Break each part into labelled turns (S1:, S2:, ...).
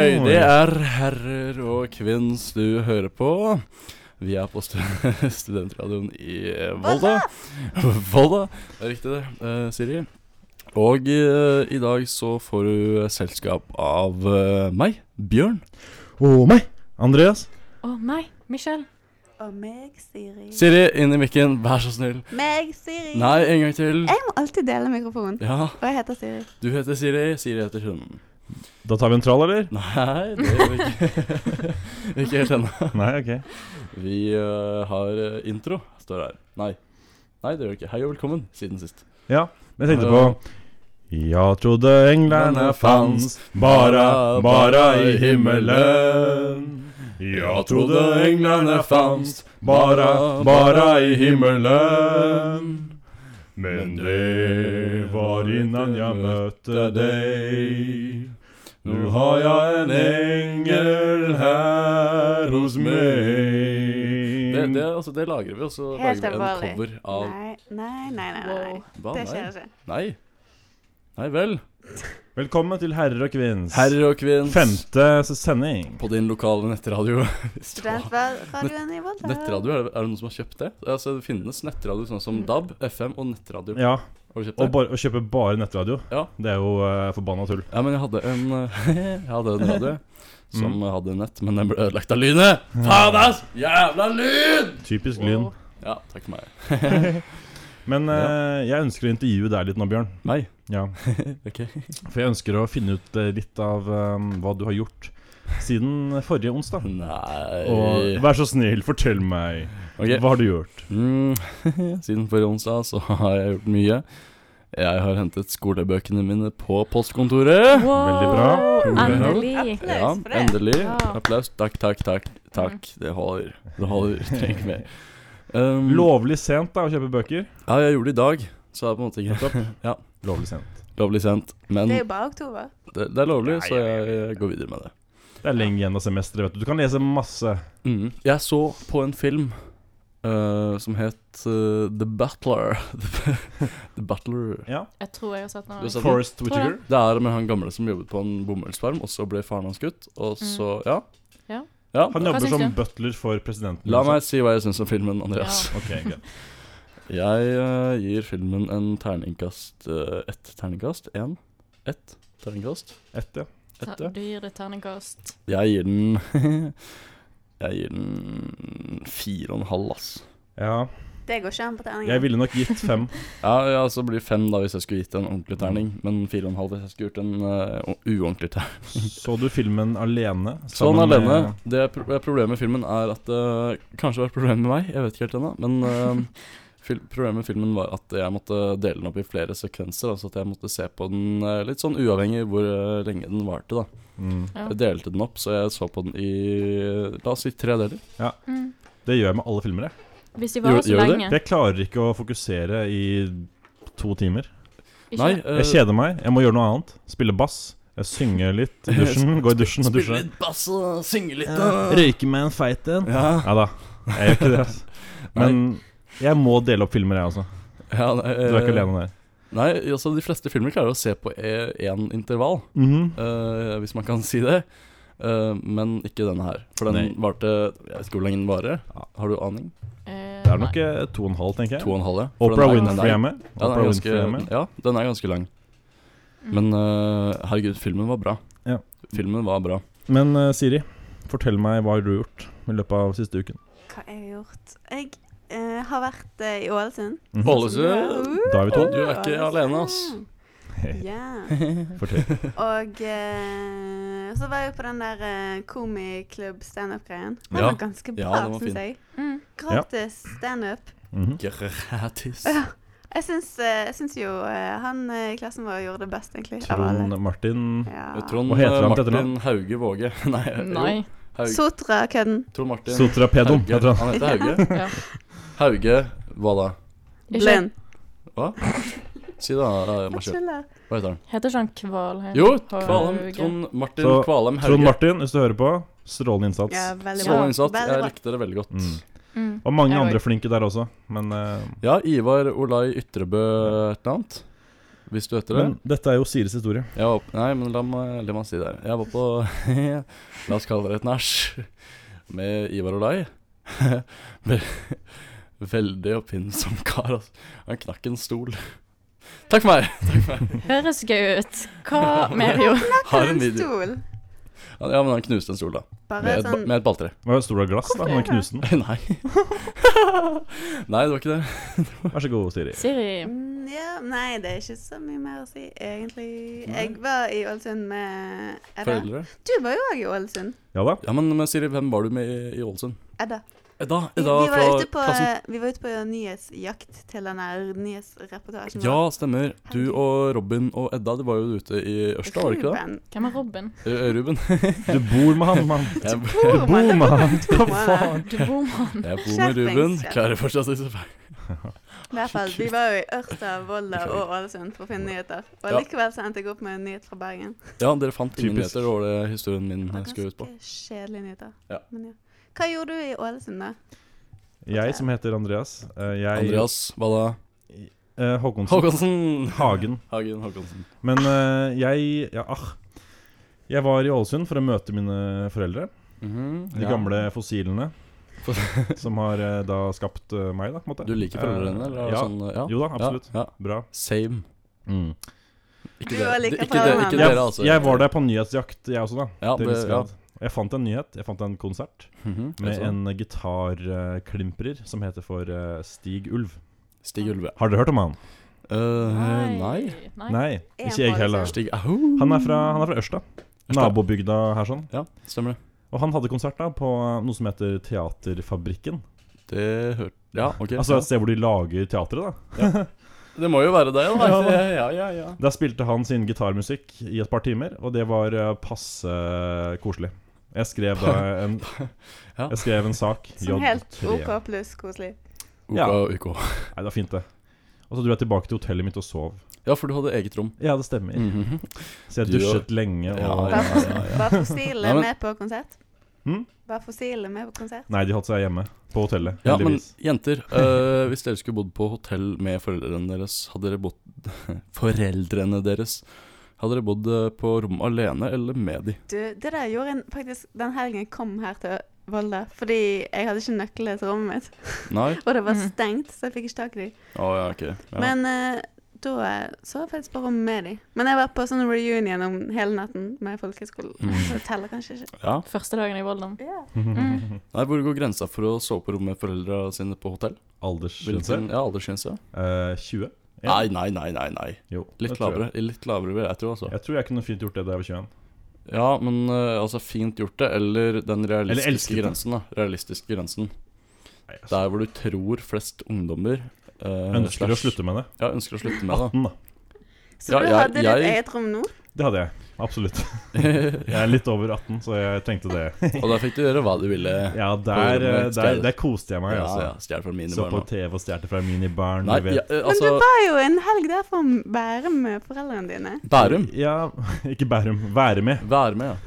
S1: damer, herrer og kvinns du hører på. Vi er på stu studentradioen i Volda. Volda, det er riktig det, eh, Siri. Og eh, i dag så får du selskap av eh, meg, Bjørn.
S2: Og meg, Andreas.
S3: Å nei, Michelle.
S4: Og meg, Siri.
S1: Siri, inn i mikken, vær så snill.
S4: Meg, Siri.
S1: Nei, en gang til.
S4: Jeg må alltid dele mikrofonen.
S1: Ja,
S4: Og jeg heter Siri.
S1: du heter Siri, Siri heter hunden.
S2: Da tar vi en trall, eller?
S1: Nei, det gjør vi ikke. ikke helt ennå.
S2: Nei, ok.
S1: Vi eh, har eh, intro, står det her. Nei. Nei, det gjør vi ikke. Hei og velkommen, siden sist.
S2: Ja, men jeg tenkte på Jeg trodde englene fanns bare, bare i himmelen. Jeg trodde englene fanns bare, bare i himmelen. Men det var innan jeg møtte deg. Nå har jeg en engel her hos meg.
S1: Det, det, altså, det lagrer vi, og så lager vi
S4: Helt
S1: en
S4: alvorlig.
S1: cover av
S4: Nei, nei, nei. nei, nei.
S3: Wow.
S1: Hva?
S4: Det
S1: Nei.
S4: skjer altså. ikke.
S1: Nei. Nei vel.
S2: Velkommen til Herrer og kvinns
S1: Herre og kvinns
S2: femte sending.
S1: på din lokale nettradio.
S4: Studentradioen i Volda.
S1: Nettradio, er det, er det noen som har kjøpt det? Altså, Det finnes nettradio sånn
S4: Mm.
S1: som DAB, FM og nettradio.
S2: Ja,
S1: Har du kjøpt
S2: og
S1: det?
S2: bare, å kjøpe bare nettradio,
S1: Ja.
S2: det er jo eh, forbanna tull.
S1: Ja, men jeg hadde en Jeg hadde en radio
S2: Mm.
S1: som hadde nett, men den ble ødelagt av lynet. Faen, ass! Jævla lyn!
S2: Typisk lyn.
S1: Ja, takk for meg.
S2: Men eh, jeg ønsker å intervjue deg litt nå, Bjørn.
S1: Nei,
S2: Ja,
S1: ok.
S2: For jeg ønsker å finne ut eh, litt av eh, hva du har gjort siden forrige onsdag.
S1: Nei
S2: Og vær så snill, fortell meg.
S1: Ok.
S2: Hva har du gjort?
S1: Mm, siden forrige onsdag så har jeg gjort mye. Jeg har hentet skolebøkene mine på postkontoret.
S2: Veldig bra.
S3: Endelig.
S1: Ja,
S4: Applaus for det.
S1: endelig.
S3: Ja.
S1: Applaus. Takk, takk, takk. Takk. Det holder. Det holder. Trenger ikke mer. Um,
S2: Lovlig sent da å kjøpe bøker.
S1: ja, jeg gjorde det i dag, så det er på en måte ikke ja,
S2: Lovlig sent.
S1: lovlig sent. Men det,
S4: Det er jo bare oktober.
S1: det er lovlig, så jeg, jeg går videre med det.
S2: Det er lenge igjen av semesteret, vet du. Du kan lese masse.
S1: Mm. Jeg så på en film eh, som het eh, The Battler. The Battler.
S2: Ja.
S3: Jeg tror jeg har sett den.
S1: Du har sett den?
S2: Forest
S3: Tror
S2: Whittaker.
S3: jeg.
S1: Det er med han gamle som jobbet på en bomullsfarm, og så ble faren hans skutt, og så Ja.
S3: Ja.
S2: Han
S3: Hva
S2: jobber
S3: syns
S2: som
S3: du?
S2: butler for presidenten.
S1: La meg si hva jeg syns om filmen, Andreas.
S2: Ok, greit.
S1: Jeg eh, gir filmen en terningkast eh, Ett terningkast? Én? Ett terningkast?
S2: Ett, ja.
S1: Ett,
S3: Ta-
S1: ja.
S3: Du gir det terningkast.
S1: Jeg gir den Jeg gir den fire og en halv, ass.
S2: ja.
S4: Det går ikke an på
S2: Jeg
S4: terningen.
S2: ville nok gitt fem.
S1: Ja, ja, altså blir fem da hvis jeg skulle gitt en ordentlig terning, men fire og en halv hvis jeg skulle gjort en eh, o- uordentlig terning.
S2: Så du filmen alene?
S1: Sånn
S2: sammen
S1: alene.
S2: med-
S1: Det pro problemet med filmen er at eh, Kanskje det var et problem med meg, jeg vet ikke helt ennå. Men eh, fil problemet med filmen var at jeg måtte dele den opp i flere sekvenser. Altså at jeg måtte se på den eh, litt sånn uavhengig hvor eh, lenge den varte, da.
S2: Mm.
S3: Ja.
S1: Jeg delte den opp, så jeg så på den i la oss si tre deler.
S3: Mm.
S2: Det gjør jeg med alle filmer. Jeg.
S3: Hvis de
S1: Gjør-
S3: varer så
S1: gjør du det?
S3: lenge.
S2: For jeg klarer ikke å fokusere i to timer.
S3: Ikke?
S1: Nei, eh,
S2: Jeg kjeder meg. Jeg må gjøre noe annet. Spille bass. Jeg synger litt i dusjen. Gå i dusjen og
S1: spille
S2: dusje.
S1: litt bass og synge litt. da.
S2: Røyke med en feit en.
S1: Ja,
S2: Nei da, jeg gjør ikke det. ass. Men jeg må dele opp filmer, jeg også.
S1: ja, nei,
S2: Du er ikke
S1: eh,
S2: alene der.
S1: Nei, altså de fleste filmer klarer å se på én intervall.
S2: Mhm.
S1: Eh, hvis man kan si det. Eh, men ikke denne her. For den
S2: Nei.
S1: varte Jeg vet ikke hvor lenge den varer. Har du aning?
S3: Eh,
S2: Det er
S3: nei.
S2: nok eh, to og en halv, tenker
S1: To og
S2: jeg.
S1: en halv, ja. For
S2: Opera
S1: den er-
S2: Winfrey
S1: den er-
S2: er med.
S1: Ja, den
S2: Oprah
S1: er
S2: Winfrey er
S1: ganske,
S2: med.
S1: ja, den er ganske lang.
S3: Mm.
S1: Men eh, herregud, filmen var bra.
S2: Ja.
S1: Filmen var bra.
S2: Men eh, Siri, fortell meg hva har du gjort i løpet av siste uken.
S4: Hva jeg har gjort? Jeg eh, har vært eh, i Ålesund.
S2: Mhm.
S1: Ålesund!
S2: Da er vi to.
S1: Du er ikke alene, ass.
S4: Ja.
S2: Fortell.
S4: Og eh, så var jeg på den der eh, komiklubb standup-greien. Den
S1: Ja.
S4: var ganske
S1: Ja,
S4: bra,
S1: den var fin.
S4: syns jeg.
S3: Mm.
S4: Gratis standup.
S2: Mhm.
S1: Gratis.
S4: Jeg syns, eh, jeg syns jo eh, han eh, i klassen vår gjorde det best, egentlig. Av alle.
S2: Trond Martin
S4: Ja.
S1: Trond
S2: Hva heter
S1: eh,
S2: han til
S1: Martin Hauge Våge. Nei. Eh, jo,
S3: Nei.
S1: Haug,
S4: Sotra-kødden.
S1: Trond Martin
S2: Sotrapedon, heter han.
S1: Hauge. Han heter Hauge.
S3: Ja.
S1: Hauge hva da?
S3: Ikke-
S4: Blind.
S1: Si det, da,
S4: Jeg
S1: Martin.
S4: tuller.
S1: Hva heter han?
S3: Heter ikke han Kvalheim?
S1: Jo,
S3: Hauge?
S1: Kvalheim. Trond Martin
S2: Så,
S1: Kvalheim
S2: Trond
S1: Hauge.
S2: Martin, hvis du hører på, strålende innsats.
S4: Ja, veldig bra.
S1: Strålende innsats.
S4: Veldig
S1: Jeg
S4: bra.
S1: likte dere veldig godt.
S2: Mm.
S3: Mm.
S2: Og mange
S3: Jeg
S2: andre
S3: òg.
S2: flinke der også, men eh,
S1: Ja, Ivar Olai Ytrebø et eller annet. Hvis du heter det.
S2: Men dette er jo Siris historie.
S1: Jeg var, nei, men la meg, la meg si det her. Jeg var på La oss kalle det et nach med Ivar og deg. Veldig oppfinnsom kar, altså. Han knakk en stol. Takk for meg!
S3: Høres gøy ut. Hva mer, jo?
S1: Har en
S4: En
S1: video.
S4: stol.
S1: Ja, men han knuste en stol, da.
S4: Bare
S1: Med et, ba-
S4: sånn
S1: med et balltre.
S2: Det var jo stor av glass, da. Han
S4: Hvorfor?
S2: knuste den.
S1: Nei. Nei, det var ikke det.
S2: Vær så god, Siri.
S3: Siri.
S4: Mm, Ja, nei, det er ikke så mye mer å si, egentlig.
S1: Nei.
S4: Jeg var i Ålesund med Edda.
S1: Foreldre.
S4: Du var jo òg i Ålesund.
S2: Ja da.
S1: Ja, men, men Siri, hvem var du med i, i Ålesund?
S4: Edda.
S1: Edda.
S4: Vi,
S1: Edda
S4: vi,
S1: fra
S4: var ute på, eh,
S1: klassen.
S4: vi var ute på nyhetsjakt til den her nyhetsreportasjen.
S1: Ja, stemmer. Du og Robin og Edda, det var jo ute i Ørsta, var det ikke det?
S4: Ruben.
S3: Hvem er Robin?
S1: Eh, Ruben.
S2: Du bor med han, mann.
S1: Jeg,
S2: Du
S4: Hvor
S2: bor
S4: mange-
S2: med han. Hva
S4: Hvor mange-
S2: faen?
S3: Du bor med han.
S1: Jeg bor
S4: Skjerpings,
S1: med Ruben.
S4: ja.
S1: Klarer fortsatt disse feil.
S4: I hvert fall, Vi var jo i Ørsta, Volda og Ålesund for å finne nyheter. Og
S1: Ja.
S4: likevel så endte jeg opp med en nyhet fra Bergen.
S1: Ja, dere fant ingen
S2: Typisk.
S1: nyheter. Det var det historien min eh, skulle ut på.
S4: Ganske kjedelige nyheter.
S1: Ja.
S4: Men ja. Hva gjorde du i Ålesund, da?
S2: Jeg som heter Andreas. eh, Jeg
S1: Andreas, hva da?
S2: eh, Håkonsen.
S1: Håkonsen!
S2: Hagen.
S1: Hagen Håkonsen.
S2: Men eh, jeg Ja, ah. Jeg var i Ålesund for å møte mine foreldre.
S1: Mhm,
S2: De gamle fossilene. Som har eh, da skapt eh, meg, da, på en måte.
S1: Du liker foreldrene, eller? er det
S2: ja.
S1: Sånn, eh, ja.
S2: Jo da, absolutt.
S1: Ja, ja.
S2: Bra.
S1: Same.
S2: Mm.
S1: Ikke
S4: Du
S1: dere,
S4: var like
S1: ikke,
S4: foran
S1: dere,
S4: han.
S1: ikke
S2: Jeg,
S1: dere, altså.
S2: jeg var der på nyhetsjakt, jeg også, da.
S1: Ja,
S2: til en
S1: det-
S2: viss
S1: ja.
S2: grad. Jeg fant en nyhet. Jeg fant en konsert
S1: Mhm, jeg
S2: med
S1: så.
S2: en gitarklimprer som heter for eh, Stig Ulv.
S1: Stig Ulve.
S2: Har dere hørt om han?
S1: Eh, nei.
S3: Nei.
S2: Nei,
S4: En
S2: ikke jeg
S4: bare,
S2: heller.
S4: så.
S1: Stig Au!
S2: Han er fra, han er fra Ørsta. Nabobygda her sånn.
S1: Ja, stemmer det.
S2: Og han hadde konsert da på eh, noe som heter Teaterfabrikken.
S1: Det hørte Ja, OK.
S2: Altså et sted hvor de lager teatret, da.
S1: ja. Det må jo være deg, da.
S2: Ja, da.
S1: ja, ja, ja.
S2: Der spilte han sin gitarmusikk i et par timer, og det var eh, passe koselig. Jeg skrev da en,
S1: Ja.
S2: jeg skrev en sak.
S4: Som
S2: J3.
S4: helt OK pluss koselig.
S1: OK,
S2: Ja.
S1: OK.
S2: Nei, det var fint, det. Og så dro jeg tilbake til hotellet mitt og sov.
S1: Ja, for du hadde eget rom.
S2: Ja, det stemmer.
S1: Mhm.
S2: Så jeg
S1: Du-
S2: dusjet lenge og
S1: Ja, ja, ja, ja.
S4: Var fossilene
S1: Nei, men-
S4: med på konsert?
S2: Hm?
S4: Var fossilene med på konsert?
S2: Nei, de holdt seg hjemme. På hotellet,
S1: Ja, men
S2: heldigvis.
S1: jenter, øh, hvis dere skulle bodd på hotell med foreldrene deres, hadde dere bodd Foreldrene deres. Hadde dere bodd øh, på rom alene eller med de?
S4: Du, det der gjorde en faktisk den helgen jeg kom her til Volda, fordi jeg hadde ikke nøkler til rommet mitt.
S1: Nei?
S4: Og det var
S1: Hm.
S3: Mm.
S4: stengt, så jeg fikk ikke tak i dem.
S1: Å ja, ok. Ja.
S4: Men eh, da eh, så jeg faktisk på rommet med dem. Men jeg var på sånn reunion om hele natten med folkehøyskolen,
S1: Mm.
S4: så det teller kanskje ikke.
S1: ja.
S3: Første dagen i Volda. Mm.
S1: Nei, hvor går grensa for å sove på rom med foreldra sine på hotell?
S2: Aldersgrense?
S1: Hvilken, ja, aldersgrense?
S2: Eh, 20? Ja.
S1: Nei, nei, nei, nei. nei.
S2: Jo. det
S1: Litt
S2: tror jeg.
S1: lavere, litt lavere vil jeg tro, altså.
S2: Jeg tror jeg kunne fint gjort det da jeg var 21.
S1: Ja, men øh, altså fint gjort det, eller den
S2: elsket
S1: realistiske
S2: det.
S1: grensen, da. Realistiske grensen.
S2: Nei, altså,
S1: Der hvor du tror flest ungdommer øh,
S2: ønsker å
S1: slash-
S2: slutte med det.
S1: Ja, ønsker å slutte med det.
S2: 18, da.
S4: Så
S1: Ja,
S4: du
S1: jeg-
S4: hadde ditt
S1: jeg-
S4: eget rom nå?
S2: Det hadde jeg. Absolutt. Jeg er litt over 18, så jeg trengte det.
S1: Og der fikk du gjøre hva du ville.
S2: Ja, der, eh, der, der koste jeg meg,
S1: Ja,
S2: altså.
S1: ja, Stjålet fra mine
S2: Så på
S1: barn. da.
S2: TV og stjal fra minibaren.
S1: Nei,
S2: du vet.
S1: ja, eh,
S4: Men
S1: altså
S4: du var jo en helg der for å være med foreldrene dine.
S1: Bærum.
S2: Ja, ikke Bærum. Være med.
S1: Vær med, ja.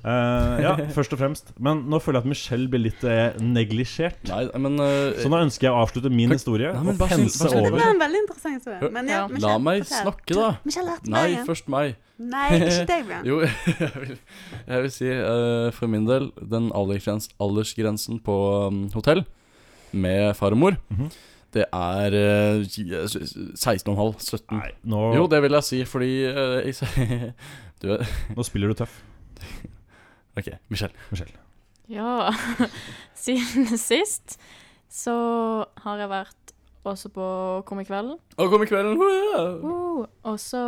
S2: Eh, ja, først og fremst. Men nå føler jeg at Michelle blir litt eh, neglisjert.
S1: Nei, men eh,
S2: Så nå ønsker jeg å avslutte min historie
S1: Nei, men
S2: og
S1: bare snill,
S2: pense
S1: bare snill.
S4: Det
S2: over.
S4: var en veldig interessant historie. Men ja,
S3: Ja.
S4: Michelle,
S1: La meg
S4: fortell.
S1: snakke, da.
S4: Du, Michelle har vært
S1: Nei,
S4: med.
S1: først meg.
S4: Nei, ikke deg, Bjørn.
S1: Jo, jeg vil, jeg vil si eh, for min del den aldersgrens, aldersgrensen på mm, hotell med far og mor,
S2: Mhm.
S1: det er eh, 16,5. 17.
S2: Nei, nå,
S1: Jo, det vil jeg si, fordi eh, jeg, s- Du er
S2: nå spiller du tøff,
S1: OK, Michelle.
S2: Michelle.
S3: Ja. Siden sist så har jeg vært også på Komikvelden.
S1: Å, kom i kvelden! Woo!
S3: Uh, og så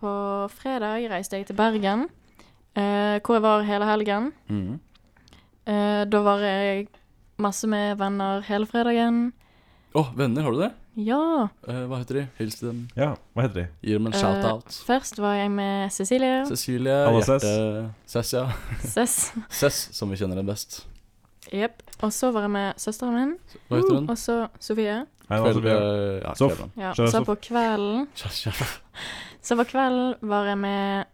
S3: på fredag reiste jeg til Bergen, eh, hvor jeg var hele helgen.
S1: Mhm.
S3: Eh, da var jeg masse med venner hele fredagen.
S1: Å, venner, har du det?
S3: Ja.
S1: Eh, hva heter de? Hils til dem.
S2: Ja, hva heter de?
S1: Gi dem en shout-out.
S3: Eh, først var jeg med Cecilie.
S1: Cecilie
S2: Hallo,
S1: Hjerte
S2: Sess.
S1: Sess, ja.
S3: Sess.
S1: Sess, som vi kjenner den best.
S3: Jep. Og så var jeg med søsteren min.
S1: Hva heter
S2: Mm.
S1: hun?
S3: Og så Sofie.
S2: Hei, nå,
S1: Kveld,
S2: Sofie.
S1: eh, ja,
S2: altså, Sof.
S1: Kveland.
S3: Ja.
S2: Kjære
S3: Så
S2: Sof.
S3: på kvelden
S1: Sess, ja.
S3: Så på kvelden var jeg med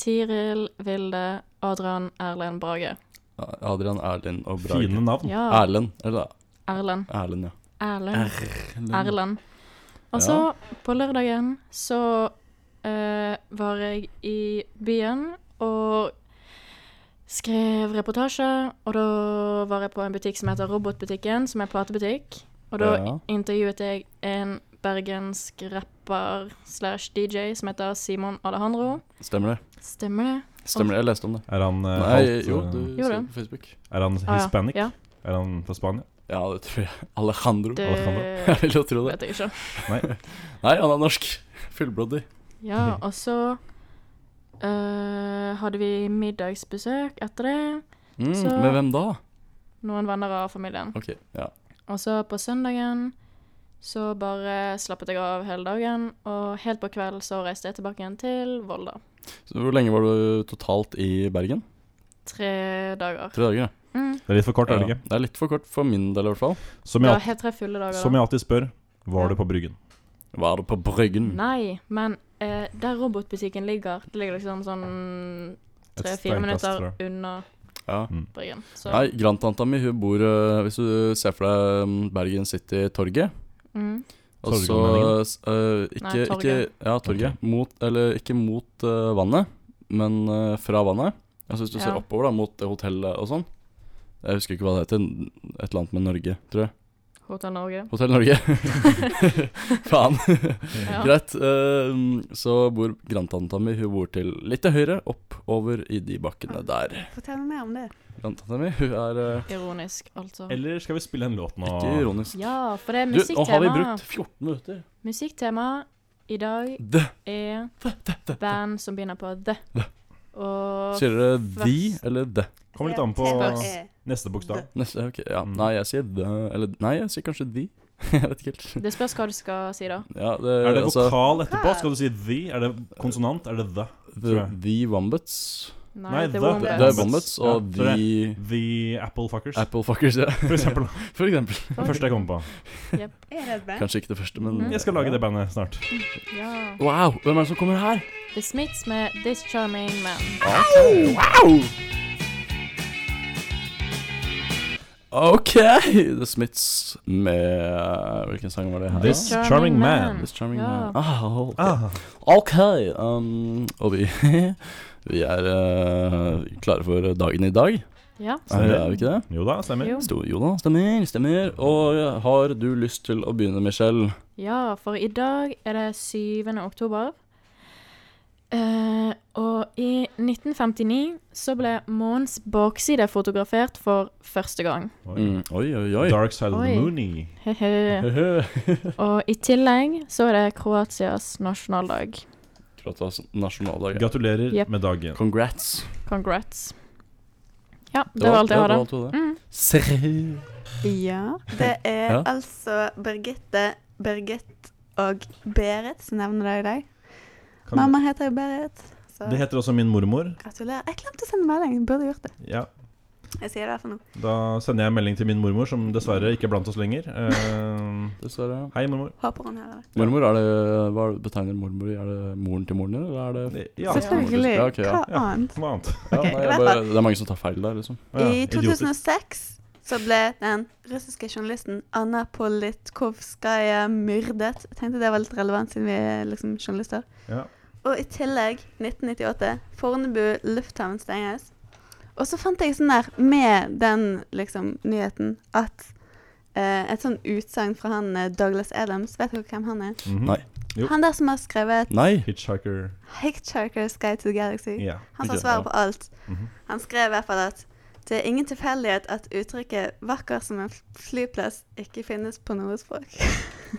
S3: Tiril, Vilde, Adrian, Erlend, Brage.
S1: Adrian, Erlend og Brage.
S2: Fine navn.
S3: Ja.
S1: Erlend, eller da?
S3: Erlend.
S1: Erlend, ja.
S3: Erlend. Erlend. Og så, på lørdagen, så eh, var jeg i byen og skrev reportasje. Og da var jeg på en butikk som heter Robotbutikken, som er platebutikk. Og da
S1: Ja.
S3: intervjuet jeg en bergensk rapper slash DJ som heter Simon Alejandro.
S1: Stemmer det.
S3: Stemmer det?
S1: Stemmer det, Jeg leste om det.
S2: Er han, eh,
S1: Nei,
S2: halvt,
S1: jo,
S2: eh,
S1: du
S3: Jo
S1: skrev
S3: da.
S1: på Facebook.
S2: er han
S3: Ah, ja.
S2: hispanic?
S3: Ja,
S2: Er han fra Spania?
S1: Ja, det tror jeg. Alejandro.
S3: det
S1: Jeg vil jo tro det.
S3: vet jeg ikke.
S1: Nei, han er norsk. Fullblodig.
S3: Ja, og så eh, hadde vi middagsbesøk etter det.
S1: Mm,
S3: Så-
S1: Med hvem da?
S3: Noen venner av familien.
S1: Ok, ja.
S3: Og så på søndagen så bare slappet jeg av hele dagen, og helt på kvelden så reiste jeg tilbake igjen til Volda.
S1: Så hvor lenge var du totalt i Bergen?
S3: Tre dager.
S1: Tre dager, ja.
S3: Mm.
S2: Det er litt for kort, er det
S1: Ja,
S2: ikke?
S1: Det er litt for kort for min del i hvert fall.
S2: Som
S3: Det
S2: jeg,
S3: var helt tre fulle
S2: al-
S3: dager.
S2: som jeg alltid spør,
S3: Ja.
S2: var du på Bryggen?
S1: Var du på
S2: Mm.
S1: Bryggen?
S3: Nei, men eh, der robotbutikken ligger, det ligger liksom sånn
S2: Et Mm.
S3: tre-fire
S2: steinkast
S3: minutter
S2: fra-
S3: unna
S1: Ja.
S3: Bryggen. Så
S1: Nei, grandtanta mi hun bor øh, Hvis du ser for deg mm, Bergen City-torget
S3: mm.
S1: og så,
S2: Torgallmenningen?
S1: s- øh, ikke,
S3: Nei,
S1: ikke,
S3: torget.
S1: ja, torget. Mot, eller ikke mot øh, vannet, men øh, fra vannet. Altså Hvis du ser
S3: Ja.
S1: oppover, da, mot det hotellet og sånn. Jeg husker ikke hva det heter. Et eller annet med Norge, tror jeg.
S3: Hotell Norge.
S1: Hotell Norge. Faen.
S3: Ja.
S1: Greit. øh, så bor grandtanta mi Hun bor til litt til høyre, oppover i de bakkene der.
S4: Fortell meg mer om det.
S1: Grandtanta mi hun er øh,
S3: Ironisk, altså.
S2: Eller skal vi spille en låt nå?
S1: ikke ironisk.
S3: Ja, for det er
S1: Du, nå har vi
S3: musikktema.
S1: brukt 14 minutter.
S3: Musikktema i dag
S1: Det
S3: er band som begynner på the. Og
S1: Sier dere de
S3: vers.
S1: eller de?
S2: Kommer litt an på
S4: Spørs.
S2: neste bokstav.
S1: Neste, ok, ja.
S2: Mm.
S1: Nei, jeg sier de Eller nei, jeg sier kanskje de. jeg vet ikke helt.
S3: det spørs hva du skal si, da.
S1: Ja, det,
S2: Er det
S1: altså,
S2: vokal etterpå? Skal du si the? Er det konsonant? Er det the? tror
S1: The,
S2: jeg.
S1: the Wombats.
S3: Nei,
S2: Nei,
S3: The
S2: The-
S1: The,
S3: Wombats.
S1: the
S2: Wombats.
S1: Wombats
S2: Ja,
S1: og
S2: tror
S1: the
S2: The Apple Fuckers,
S1: Applefuckers, ja.
S2: for eksempel.
S1: For eksempel.
S2: Den første jeg kommer på.
S4: Er det et band?
S1: Kanskje ikke det første, men
S3: Mm.
S2: Jeg skal lage det bandet snart.
S3: Ja.
S1: Wow, hvem er det som kommer her?
S3: The Smiths med This Charming Man.
S1: Wow! OK, The Smiths med Hvilken sang var det her?
S2: This
S1: da?
S2: Charming Man.
S1: This Charming
S3: Ja.
S1: Man. Ah, ok.
S2: Ah,
S1: Ok, um, og vi, vi er eh, klare for dagen i dag.
S3: Ja.
S1: Er,
S2: Stemmer.
S1: er vi ikke det?
S2: jo da, stemmer.
S3: Jo.
S1: Sto, jo da, stemmer, stemmer. Og har du lyst til å begynne, Michelle?
S3: ja, for i dag er det 7. oktober. Eh, og i 1959 så ble månens bakside fotografert for første gang.
S2: Oi.
S1: Mm. Oi, oi, oi.
S2: Dark Side of the
S3: Oi.
S2: Moony.
S3: Hehe. Og i tillegg så er det Kroatias nasjonaldag.
S1: Kroatias nasjonaldag.
S2: Gratulerer
S3: Yep.
S2: med dagen.
S1: Congrats.
S3: Congrats. Ja, det var alt jeg hadde.
S1: alt du hadde.
S3: Mm.
S1: Serr.
S4: Ja. Det er
S1: Ja.
S4: altså Birgitte, Birgit og Berit som nevner deg i dag.
S2: Kan-
S4: Mamma heter jo Berit, så
S2: Det heter også min mormor.
S4: gratulerer. Jeg glemte å sende melding, burde gjort det.
S2: Ja,
S4: Jeg sier det for nå.
S2: Da sender jeg en melding til min mormor, som dessverre ikke er blant oss lenger. Eh,
S1: Dessverre.
S2: hei, mormor.
S4: Håper hun hører det.
S1: Mormor, er det, hva betegner mormor i? Er det moren til moren din, eller er det
S2: Ja,
S4: Selvfølgelig.
S1: Ja, ok, ja.
S4: Hva annet?
S2: noe annet. Ah,
S1: ja, nei, jeg bare, Det er mange som tar feil der, liksom.
S2: Å ja,
S4: I
S2: idioter.
S4: 2006 så ble den russiske journalisten Anna Politkovskaja myrdet. Jeg tenkte det var litt relevant siden vi er liksom journalister.
S2: Ja.
S4: Og i tillegg, 1998, Fornebu lufthavn stenges. Og så fant jeg sånn der, med den liksom nyheten, at eh, et sånn utsagn fra han eh, Douglas Adams, vet dere hvem han er?
S2: Mhm.
S1: Nei.
S2: Jo.
S4: Han der som har skrevet
S1: Nei.
S2: Hitchhiker.
S4: 'Hitchhiker's Guide to the Galaxy'.
S2: Ja.
S4: Han som
S1: Ikke-
S4: svarer på alt.
S2: Mhm.
S4: Han skrev i hvert fall at det er ingen tilfeldighet at uttrykket 'vakker som en fl- flyplass' ikke finnes på noe språk.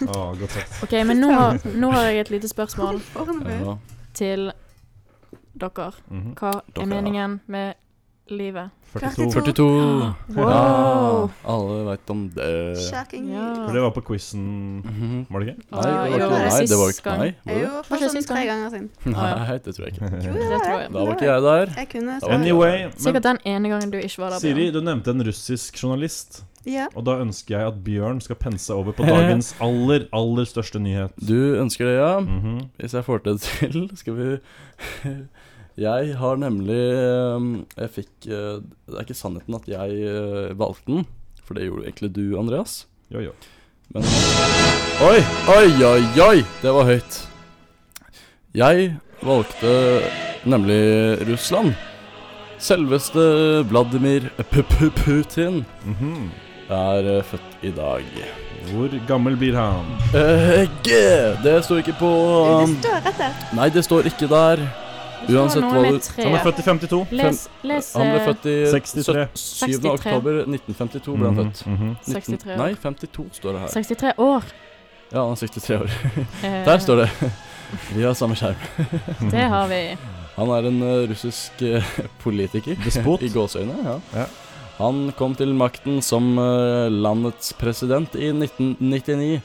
S2: Å, godt sagt.
S3: OK, men nå har, nå har jeg et lite spørsmål
S4: Fornebu.
S1: Ja.
S3: til dere.
S2: Mhm.
S3: Hva
S1: Dere, ja.
S3: er meningen med livet?
S2: 42.
S4: 42.
S1: 42.
S3: Wow.
S1: Uh. Ja, alle veit om det.
S4: Shocking.
S3: Ja.
S2: For det var på quizen,
S1: Mhm.
S2: var det ikke?
S1: Nei, det var
S4: jo,
S1: ikke
S4: det er
S1: Nei, det var
S3: sist
S1: ikke Nei, var det?
S4: Jo, for
S3: Kanskje
S4: sånn
S3: sist
S4: tre
S3: gang.
S4: ganger siden.
S1: Nei, det tror jeg ikke.
S4: Jo,
S3: Det tror jeg.
S4: det.
S1: Da var ikke jeg der.
S4: Jeg
S1: Da
S4: kunne
S1: var
S4: svare.
S1: det-
S2: Anyway,
S3: Sikkert
S2: men
S3: den ene gangen du ikke var der. Bjørn.
S2: Siri, du nevnte en russisk journalist.
S4: Ja.
S2: Og da ønsker jeg at Bjørn skal pense over på dagens aller, aller største nyhet.
S1: Du ønsker det, ja?
S2: Mhm.
S1: Hvis jeg får det til, skal vi Jeg har nemlig ehm, Jeg fikk eh, Det er ikke sannheten at jeg eh, valgte den, for det gjorde egentlig du, Andreas.
S2: Jo, jo.
S1: Men Oi, oi, oi, oi! Det var høyt. Jeg valgte nemlig Russland. Selveste Vladimir P -p Putin
S2: Mhm.
S1: er eh, født i dag.
S2: Hvor gammel blir han?
S1: Eh, G! Det står ikke på
S4: Det
S1: um,
S4: står etter.
S1: Nei, det står ikke der. Uansett hva du
S2: Han er
S3: du
S2: født i 52.
S3: Les, les
S1: Han ble
S3: eh,
S1: født i
S2: 63.
S1: 7. oktober 1952 ble han
S2: Mhm,
S1: født.
S2: mhm.
S1: 19
S3: 63 år.
S1: Nei, 52 står det her.
S3: 63 år.
S1: Ja, han er 63 år.
S3: Eh.
S1: Der står det. Vi har samme skjerm.
S3: Det har vi.
S1: Han er en eh, russisk eh, politiker.
S2: Despot.
S1: I gåseøyne, ja.
S2: Ja.
S1: Han kom til makten som eh, landets president i 1999.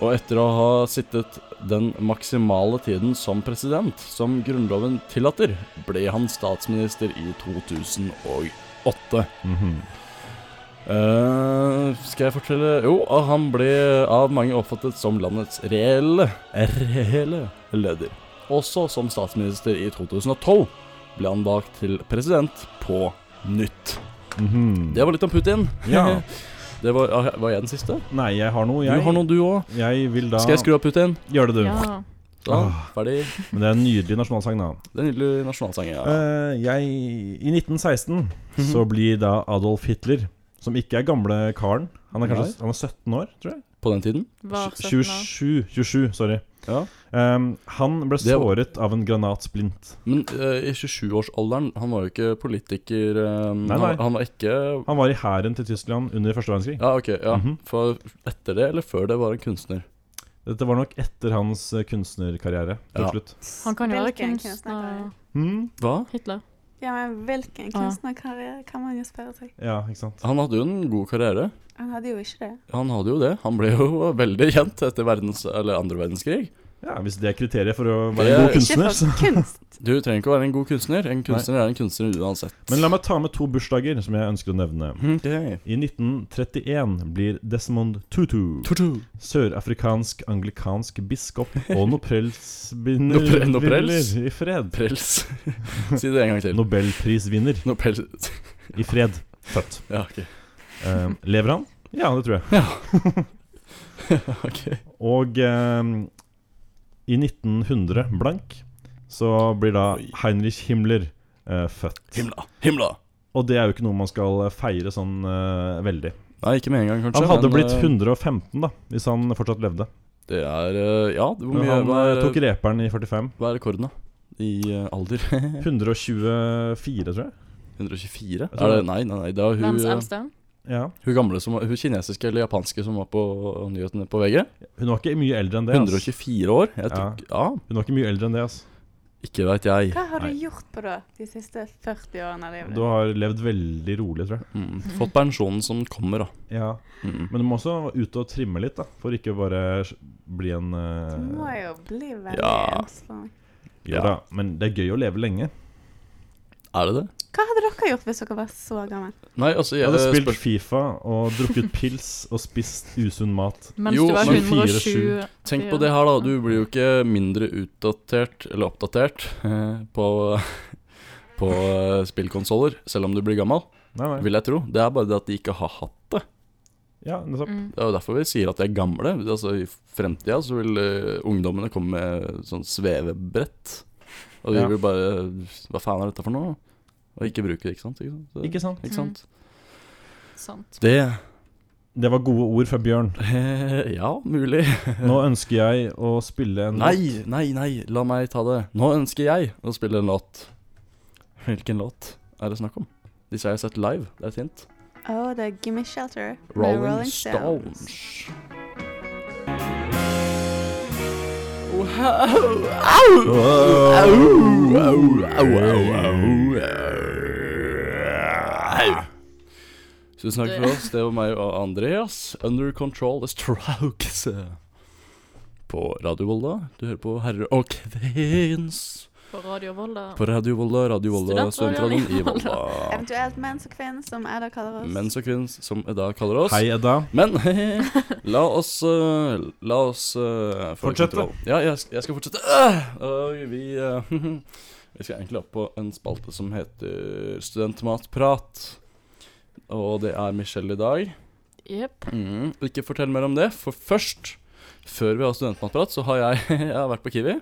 S1: Og etter å ha sittet den maksimale tiden som president, som grunnloven tillater, ble han statsminister i 2008.
S2: Mhm.
S1: Eh, skal jeg fortelle Jo, ah, han ble av mange oppfattet som landets reelle, reelle leder. Også som statsminister i 2012 ble han valgt til president på nytt.
S2: Mhm.
S1: Det var litt om Putin.
S2: Ja.
S1: Det var, ah, var jeg den siste?
S2: Nei, jeg har noe, jeg.
S1: Du har noe, du òg.
S2: Jeg vil da
S1: Skal jeg skru av Putin?
S2: Gjør det, du.
S3: Ja.
S1: Sånn,
S2: Ah.
S1: ferdig.
S2: Men det er en nydelig nasjonalsang, da.
S1: Den nydelige nasjonalsangen. Ja. Mhm.
S2: Eh, jeg, I 1916 så blir da Adolf Hitler, som ikke er gamle karen Han er kanskje han er 17 år, tror jeg?
S1: På den tiden.
S3: Var 17 Ah, år.
S2: 27, 27 sorry.
S1: Ja.
S2: Ehm, han ble
S1: Det var-
S2: såret av en granatsplint.
S1: Men eh, i 27-årsalderen Han var jo ikke politiker. eh,
S2: Nei, nei.
S1: Han, han var ikke
S2: Han var i hæren til Tyskland under første verdenskrig.
S1: Ja, ok. ja
S2: Mhm.
S1: For etter det, eller før det, var han kunstner.
S2: Dette var nok etter hans eh, kunstnerkarriere til
S1: Ja.
S2: slutt.
S3: Han kan jo være
S4: Hvilken
S3: kunstner.
S4: kunstnerkarriere?
S2: Hmm?
S1: Hva?
S3: Hitler.
S4: Ja, men hvilken kunstnerkarriere kan man jo spørre seg.
S2: Ja, ikke sant.
S1: Han hadde jo en god karriere.
S4: Han hadde jo ikke det.
S1: Han hadde jo det. Han ble jo veldig kjent etter verdens, eller andre verdenskrig.
S2: Ja, Hvis det er kriteriet for å være
S1: Det
S2: en
S1: er-
S2: god kunstner,
S4: Ikke
S2: så
S4: for kunst.
S1: Du trenger ikke å være en god kunstner. En kunstner er en kunstner uansett.
S2: Men la meg ta med to bursdager som jeg ønsker å nevne.
S1: Ok.
S2: I 1931 blir Desmond Tutu,
S1: Tutu.
S2: sørafrikansk anglikansk biskop og
S1: Nopre-
S2: nobelsvinner
S1: Nobels?
S2: i fred.
S1: Prels. Si det en gang til.
S2: Nobelprisvinner
S1: Nobel...
S2: i fred. Født.
S1: Ja, ok.
S2: Eh, lever han? Ja, det tror jeg.
S1: Ok.
S2: Og eh, i 1900 blank så blir da
S1: Oi.
S2: Heinrich Himmler eh, født.
S1: Himla. Himla.
S2: Og det er jo ikke noe man skal feire sånn eh, veldig.
S1: Nei, ikke med en gang, kanskje.
S2: Han hadde
S1: men,
S2: blitt
S1: eh,
S2: 115 da, hvis han fortsatt levde.
S1: Det er eh, Ja, det- hvor
S2: Men
S1: mye
S2: han
S1: hva,
S2: eh,
S1: er,
S2: tok reperen i 45.
S1: hva er rekorden, da? I eh, alder?
S2: 124, tror jeg.
S1: 124?
S2: tror
S1: Er det,
S2: det.
S1: nei, nei, nei. Det er hun,
S3: Verdens
S1: eh,
S3: eldste.
S2: Ja.
S1: hun gamle som var- Hun kinesiske eller japanske som var på nyhetene på VG.
S2: Hun var ikke mye eldre enn det. ass.
S1: 124 år? Jeg tror, ja.
S2: Hun var ikke mye eldre enn det, ass.
S1: Ikke veit jeg.
S4: Hva har du
S2: Nei.
S4: gjort på da de siste 40 årene av livet
S2: Du har levd veldig rolig, tror jeg.
S1: Mm. Fått pensjonen som kommer, da.
S2: Ja.
S1: Mm.
S2: Men du må også ute og trimme litt, da. For ikke bare s- bli en eh,
S4: Du må jo bli veldig
S1: Ja.
S4: enslig.
S2: Jo da. Men det er gøy å leve lenge.
S1: Er det det?
S4: Hva hadde dere gjort hvis dere var så gamle?
S1: Nei, altså
S2: Jeg
S1: jeg,
S2: hadde spilt
S1: spør,
S2: Fifa og drukket pils og spist usunn mat.
S3: Mens
S1: Jo,
S3: du var
S1: men
S3: 107.
S2: 4-7.
S1: Tenk på det her, da. Du blir jo ikke mindre utdatert, eller oppdatert, eh, på, på eh, spillkonsoller selv om du blir gammel,
S2: Nei, nei.
S1: vil jeg tro. Det er bare det at de ikke har hatt det.
S2: Ja, nettopp.
S3: Mm.
S1: Det er jo derfor vi sier at de er gamle. Altså I fremtida så vil eh, ungdommene komme med sånn svevebrett. Og vi
S2: Ja.
S1: vil bare Hva faen er dette for noe? Og ikke bruke det, ikke sant? Ikke sant? Så-
S2: Ikke sant?
S1: Ikke sant?
S3: Sant.
S1: Det
S2: Det var gode ord fra Bjørn.
S1: Ja, mulig.
S2: Nå ønsker jeg å spille en
S1: Nei, nei, nei, la meg ta det. Nå ønsker jeg å spille en låt. Hvilken låt er det snakk om? Disse har jeg sett live, det er et hint.
S4: Å, det er Gimme Shelter. med
S1: Rolling, Stones. Wow. Au! Au! Au! Au! Au! Au! Tusen takk for oss. Det var meg og Andreas. Under control the strokes. På Radio Volda. Du hører på Herre og Kvinns.
S3: På Radio Volda.
S1: På Radio Volda, Radio Volda,
S3: Studentradioen i
S1: studentradioen i Volda.
S4: Eventuelt mens og kvinner, som Edda kaller oss.
S1: Menns og kvinns, som Edda kaller oss.
S2: Hei, Edda.
S1: Men la oss eh, La oss eh, få
S2: Fortsette.
S1: kontroll. Ja, jeg, jeg skal fortsette. Øh, og vi, eh, vi skal egentlig opp på en spalte som heter Studentmatprat. Og det er Michelle i dag.
S3: Jepp.
S1: Mhm. Mm. Ikke fortell mer om det, for først før vi har studentmatprat, så har jeg, jeg har vært på Kiwi.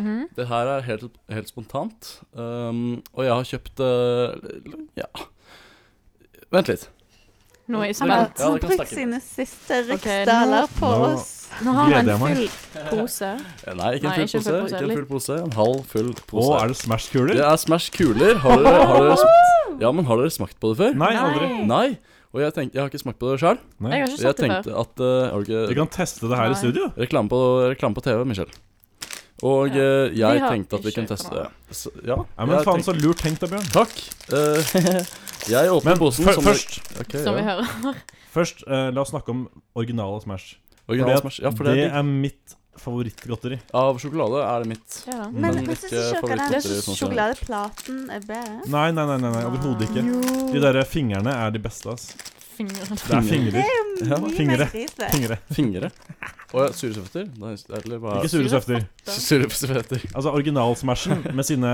S3: Mhm.
S1: Det her er helt, helt spontant. Um, og jeg har kjøpt eh, Ja. Vent litt.
S3: Nå er jeg
S1: Ja, det
S3: spent.
S1: kan
S4: Bruk
S1: snakke.
S4: sine siste
S3: nå-
S4: riksdaler på
S2: Nå-
S4: oss.
S3: Nå har han
S2: Gleder jeg meg.
S3: full pose.
S1: Eh, Nei, ikke en
S3: Nei,
S1: full pose. Ikke en
S3: eller?
S1: full pose En halv full
S2: Å,
S1: pose.
S2: er det Smash-kuler?
S1: det er Smash kuler. Har dere, har dere, sm- ja, men har dere smakt på det før?
S2: Nei, aldri.
S1: Nei. Og jeg, tenkte, jeg har ikke smakt på det sjøl.
S2: Nei.
S3: Jeg har
S1: Jeg
S3: ikke sett det før.
S1: tenkte at eh, har du
S2: Vi
S1: ikke,
S2: kan teste det her
S3: Nei.
S2: i studio.
S1: reklame, på, reklame på TV, Michelle. Og
S3: Ja.
S1: eh,
S3: Vi
S1: jeg
S3: har
S1: tenkte at vi
S3: ikke
S1: kunne
S3: kjøpt
S1: teste
S3: den.
S1: det. Så, ja,
S2: Ja, men
S1: jeg
S2: faen,
S1: tenkte-
S2: så lurt tenkt da, Bjørn.
S1: Takk. Eh, jeg åpner
S2: Men
S1: posen
S2: fø-
S1: som
S2: først,
S1: Ok,
S3: Som vi
S1: ja.
S3: hører.
S2: først eh, la oss snakke om originale Smash.
S1: Original
S2: Fordi at
S1: Smash. Ja, for
S2: det,
S1: det, er
S2: er mitt favorittgodteri.
S1: digg. Av sjokolade er det mitt.
S3: Ja.
S4: Men
S1: Men
S4: jeg syns
S1: ikke
S4: ikke dere
S1: favorittgodteri,
S4: den
S1: sånn generelt.
S4: sjokoladeplaten er bedre.
S2: Nei, nei, nei, nei, nei overhodet ikke. De derre fingrene er de beste, ass.
S3: Fingrene.
S2: Det er
S4: Det
S2: fingre.
S4: er jo
S1: Ja,
S4: mye
S2: fingre.
S4: mer krise.
S2: fingre.
S1: Fingre. Å ja, sure søfter? Nei, s- Eller hva?
S2: Ikke sure søfter.
S1: Sure søfter.
S2: Altså original-smashen med sine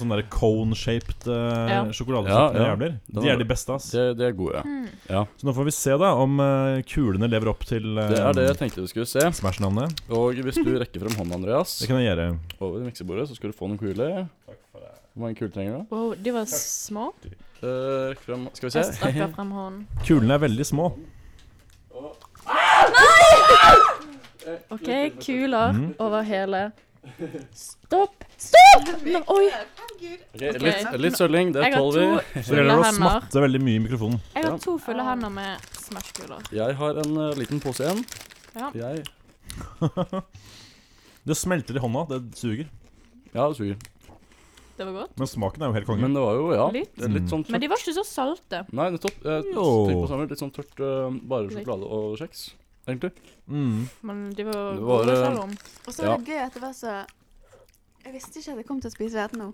S2: sånne der cone-shaped uh,
S3: Ja.
S2: sjokoladesøfte
S1: Ja, ja.
S2: jævler.
S1: Den
S2: De
S1: er
S2: er de beste, ass.
S1: De, er- de er gode.
S2: Um.
S3: Mm.
S2: Så nå får vi se da om eh, kulene lever opp til eh,
S1: Det er det jeg tenkte du skulle se.
S2: Smash-navnet.
S1: Og hvis du rekker frem hånda, Andreas,
S2: Det kan jeg gjøre.
S1: over i miksebordet, så skal du få noen kuler. Hvor mange kuler trenger du?
S3: Wow, de var små.
S1: Eh, Rekk frem Skal vi
S3: Jeg
S1: se.
S3: strekker frem hånden.
S2: Kulene er veldig små.
S3: OK, kuler
S2: Mhm.
S3: over hele. Stopp! Stopp! Men, oi,
S1: Ok, Litt, litt sølling. Det
S3: jeg har
S1: tåler vi.
S3: to
S2: Så det gjelder
S3: fulle
S2: å
S3: hender.
S2: smatte veldig mye i mikrofonen.
S3: Jeg har to fulle hender med smashkuler.
S1: Jeg har en eh, liten pose igjen.
S3: Ja.
S1: Jeg
S2: Det smelter i hånda. Det suger.
S1: Ja, det suger.
S3: Det var godt.
S2: Men smaken er jo helt konge.
S1: Men det var jo, ja.
S3: Litt.
S1: det er Litt sånn
S3: Men
S1: tørt.
S3: de var ikke så salte.
S1: Nei, nettopp. Eh,
S2: Jo.
S1: tenk på samme, litt sånn tørt eh, bare sjokolade og kjeks, egentlig.
S2: Mm.
S3: Men de var
S1: Det var, eh,
S3: gode selv om.
S4: Og så var det gøy at det var så Jeg visste ikke at jeg kom til å spise dette nå.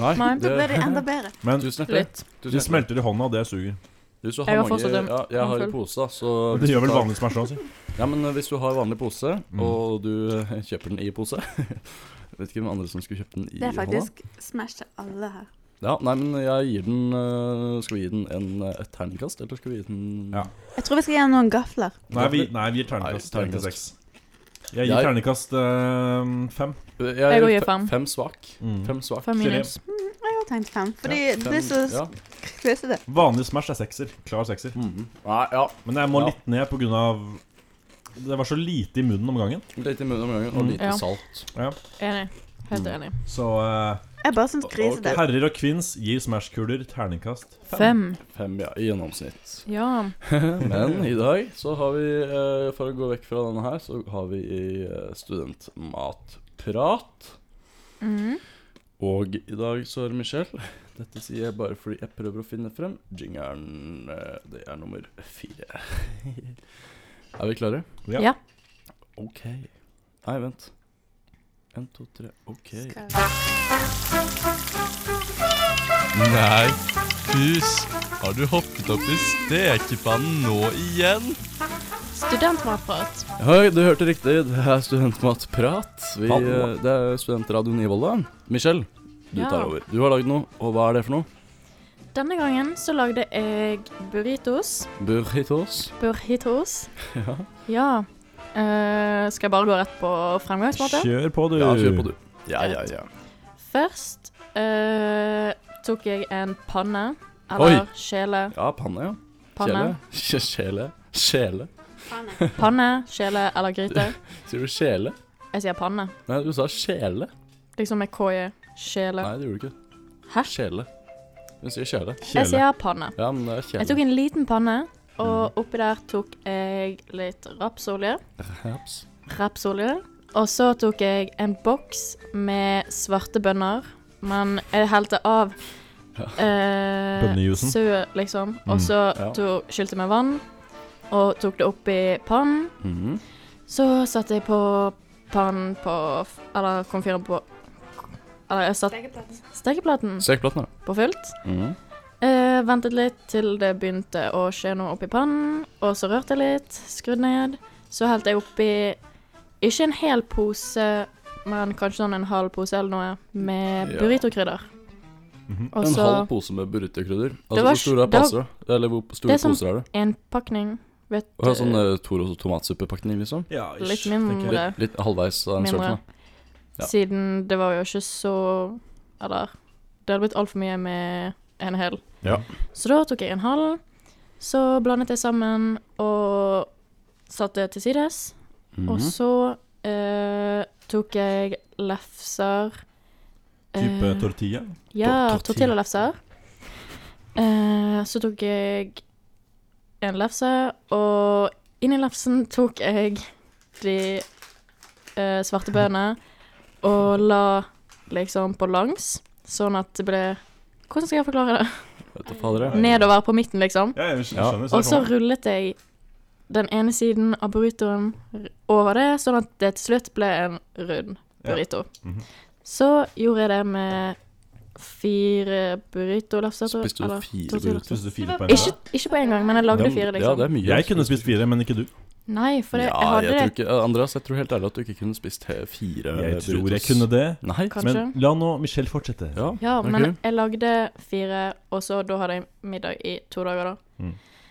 S1: Nei,
S3: Nei.
S4: Da ble det enda bedre.
S2: Men
S1: Tusen hjertelig.
S3: Litt.
S1: Tusen
S2: de
S1: hjertelig.
S2: smelter i hånda, og det suger.
S1: Hvis du har
S3: Jeg har sånn-
S1: mange,
S3: fortsatt en
S1: ja, jeg har i
S3: håndfull.
S1: pose, da, så
S2: Det gjør vel
S1: tar-
S2: vanlig Smash også.
S1: Ja, men eh, hvis du har vanlig pose,
S2: Mm.
S1: og du eh, kjøper den i pose Vet ikke hvem andre som skulle kjøpt den i
S4: Det er faktisk smash til alle her.
S1: hånda. Ja, nei, men jeg gir den eh, Skal vi gi den en, eh, et terningkast, eller skal vi gi den
S2: Ja.
S4: Jeg tror vi skal gi ham noen gafler.
S2: Nei, vi, nei, vi gir terningkast
S1: Nei, terningkast.
S2: terningkast seks. Jeg
S1: Jeg-
S2: gir terningkast eh, fem.
S1: Jeg,
S3: Jeg går i
S1: fe-
S3: fem.
S1: Fem svak.
S2: Mm.
S1: Fem svak.
S3: Fem minus.
S4: Jeg har tenkt fem, fordi
S1: Ja, fem-
S4: det er så
S1: ja.
S4: kløsete.
S2: Vanlig Smash er sekser. Klar sekser.
S1: Mhm. Nei, ja.
S2: Men jeg må
S1: Ja.
S2: litt ned pga. Det var så lite i munnen om gangen.
S1: Litt i munnen om gangen, og
S2: Mm.
S1: lite
S3: Ja.
S1: salt.
S3: Enig. Helt enig.
S2: Så eh,
S4: Jeg bare syns grisete.
S2: herrer og kvinns gir Smash-kuler terningkast fem.
S3: Fem.
S1: Fem, ja, i gjennomsnitt.
S3: Ja.
S1: Men i dag så har vi, eh, for å gå vekk fra denne her, så har vi i eh, studentmatprat.
S3: Mhm.
S1: Og i dag så er det Michelle. Dette sier jeg bare fordi jeg prøver å finne frem jingeren. eh, Det er nummer fire. Er vi klare?
S2: Ja.
S3: Ja.
S1: OK. Nei, vent. En, to, tre. OK.
S5: Nei, pus. Har du hoppet opp i stekepannen nå igjen?
S3: Studentmatprat.
S1: Hei, du hørte riktig. Det er Studentmatprat. Vi,
S2: Hallo.
S1: eh, det er Studentradioen i Volda. Michelle, du
S3: Ja.
S1: tar over. Du har lagd noe, og hva er det for noe?
S3: Denne gangen så lagde jeg burritos.
S1: Burritos.
S3: Burritos.
S1: Ja.
S3: Ja. Eh, skal jeg bare gå rett på fremgangsmåte?
S2: Kjør på, du.
S1: Ja, kjør på, du. Ja, ja, ja.
S3: Først eh, tok jeg en panne. Eller
S1: Oi.
S3: skjele.
S1: Ja, panne, ja.
S3: Panne.
S1: Kjele. Kjele. Kjele.
S3: Panne, skjele eller gryte.
S1: Sier du kjele?
S3: Jeg sier panne.
S1: Nei, du sa kjele.
S3: Liksom med KJ. Skjele.
S1: Nei, det gjorde du ikke.
S3: Hæ?
S1: Kjele. Hun sier kjele.
S3: Jeg
S2: Kjele.
S3: sier panne.
S1: Ja, men det er kjele. Mm.
S3: Jeg tok en liten panne, og oppi der tok jeg litt rapsolje.
S1: Perhaps.
S3: Rapsolje. Og så tok jeg en boks med svarte bønner, men jeg helte av eh,
S2: Bønnejuicen.
S3: sø, liksom.
S2: Mm,
S3: Og så
S1: ja.
S3: to- skylte jeg med vann, og tok det oppi pannen.
S1: Mhm.
S3: Så satte jeg på pannen på f- Eller komfyren på Eller jeg satte stekeplaten
S1: Stekeplaten, da.
S3: på fullt.
S1: Mhm.
S3: Eh, ventet litt til det begynte å skje noe oppi pannen, og så rørte jeg litt, skrudd ned. Så helte jeg oppi ikke en hel pose, men kanskje sånn en halv pose eller noe, med
S1: Ja.
S3: burritokrydder.
S2: Mhm.
S3: Og
S1: En
S3: så
S1: halv pose med burritokrydder. Altså,
S3: var
S1: hvor store er
S3: s- det var-
S1: poser? Eller hvor store
S3: Det er sånn-
S1: poser er det?
S3: en pakning Vet
S1: Og har sånn uh, Toros og tomatsuppepakning, liksom.
S2: Ja,
S3: Litt
S2: ish, tenker jeg.
S3: mindre.
S1: Litt, litt halvveis av en
S3: Mindre.
S1: sulten, da. Ja.
S3: Siden det var jo ikke så Eller det hadde blitt altfor mye med en hel.
S1: Ja.
S3: Så da tok jeg en halv. Så blandet jeg sammen og satte det til sides. Og
S1: Mhm.
S3: så eh, tok jeg lefser
S2: Type
S3: eh,
S2: tortilla.
S3: Ja,
S1: tortilla.
S3: tortillalefser. Eh, så tok jeg en lefse, og inni lefsen tok jeg de eh, svarte bønene og la liksom på langs, sånn at det ble Hvordan skal jeg forklare det?
S1: Vet du fader, ja.
S3: Nedover på midten, liksom.
S2: Ja, jeg skj-
S1: Ja.
S2: skjønner.
S3: Og så
S2: jeg kommer.
S3: rullet jeg den ene siden av burritoen r- over det, sånn at det til slutt ble en rund
S2: Ja.
S3: burrito.
S2: Mhm.
S3: Så gjorde jeg det med fire burritolefser. tror jeg,
S1: Spiste du
S3: eller
S1: fire
S3: tortilla.
S1: burrito?
S2: Spiste du fire på en
S3: Ikke,
S2: gang?
S3: ikke på en gang, men jeg lagde
S1: Det er-
S3: fire,
S1: Ja,
S3: liksom.
S1: det er mye.
S2: Jeg kunne spist fire, men ikke du.
S3: Nei, for det,
S1: ja,
S3: jeg hadde
S1: jeg tror
S3: det
S1: ikke, Andreas, jeg tror helt ærlig at du ikke kunne spist he- fire
S2: Jeg tror jeg
S1: burritos.
S2: kunne det.
S1: Nei.
S3: kanskje.
S2: Men la nå Michelle fortsette.
S1: Ja,
S3: ja,
S1: ok.
S3: men jeg lagde fire, og så da hadde jeg middag i to dager, da.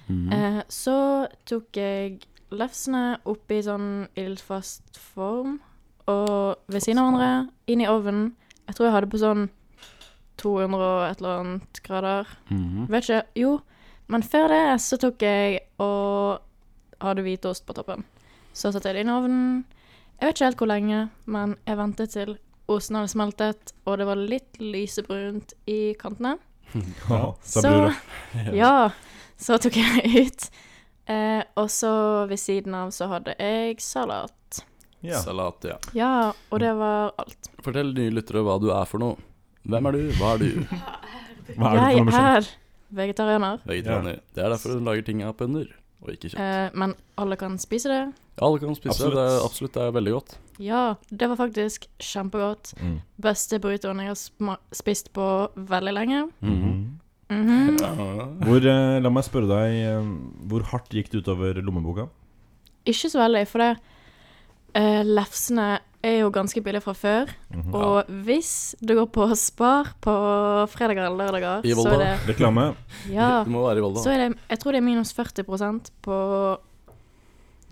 S1: Mhm.
S3: Eh, så tok jeg lefsene oppi sånn ildfast form, og ved siden av hverandre, inn i ovnen. Jeg tror jeg hadde på sånn 200 og et eller annet grader.
S1: Mhm.
S3: Vet ikke. Jo, men før det så tok jeg og hadde hvitost på toppen. Så satte jeg det inn i ovnen. Jeg vet ikke helt hvor lenge, men jeg ventet til osten hadde smeltet, og det var litt lysebrunt i kantene.
S2: Ja, sa
S3: Så-
S2: bror.
S3: Ja, så tok jeg det ut. Eh, og så ved siden av så hadde jeg salat.
S2: Ja.
S1: Salat, ja.
S3: Ja, og det var alt.
S1: Fortell nye lyttere hva du er for noe. Hvem er du? Hva er du?
S2: Hva er det for noe
S3: jeg
S2: Michelle?
S3: er vegetarianer,
S1: Vegetarianer. Det er derfor hun lager ting av bønner, og ikke kjøtt.
S3: eh, men alle kan spise det.
S1: Ja, alle kan spise det. Det er, absolutt, det er veldig godt.
S3: Ja, det var faktisk kjempegodt.
S2: Mm.
S3: Beste burritoen jeg har sma spist på veldig lenge.
S2: Mhm.
S3: Mhm.
S1: Ja.
S2: Hvor, eh, la meg spørre deg, eh, hvor hardt gikk det utover lommeboka?
S3: Ikke så veldig, for det eh, Lefsene er jo ganske billige fra før.
S2: Mhm.
S3: Og hvis du går på Spar på fredager eller lørdager,
S1: I
S3: så
S1: Volda.
S3: er det
S2: Reklame.
S3: Ja.
S1: Du må være i Volda.
S3: Så er det, jeg tror det er minus 40 på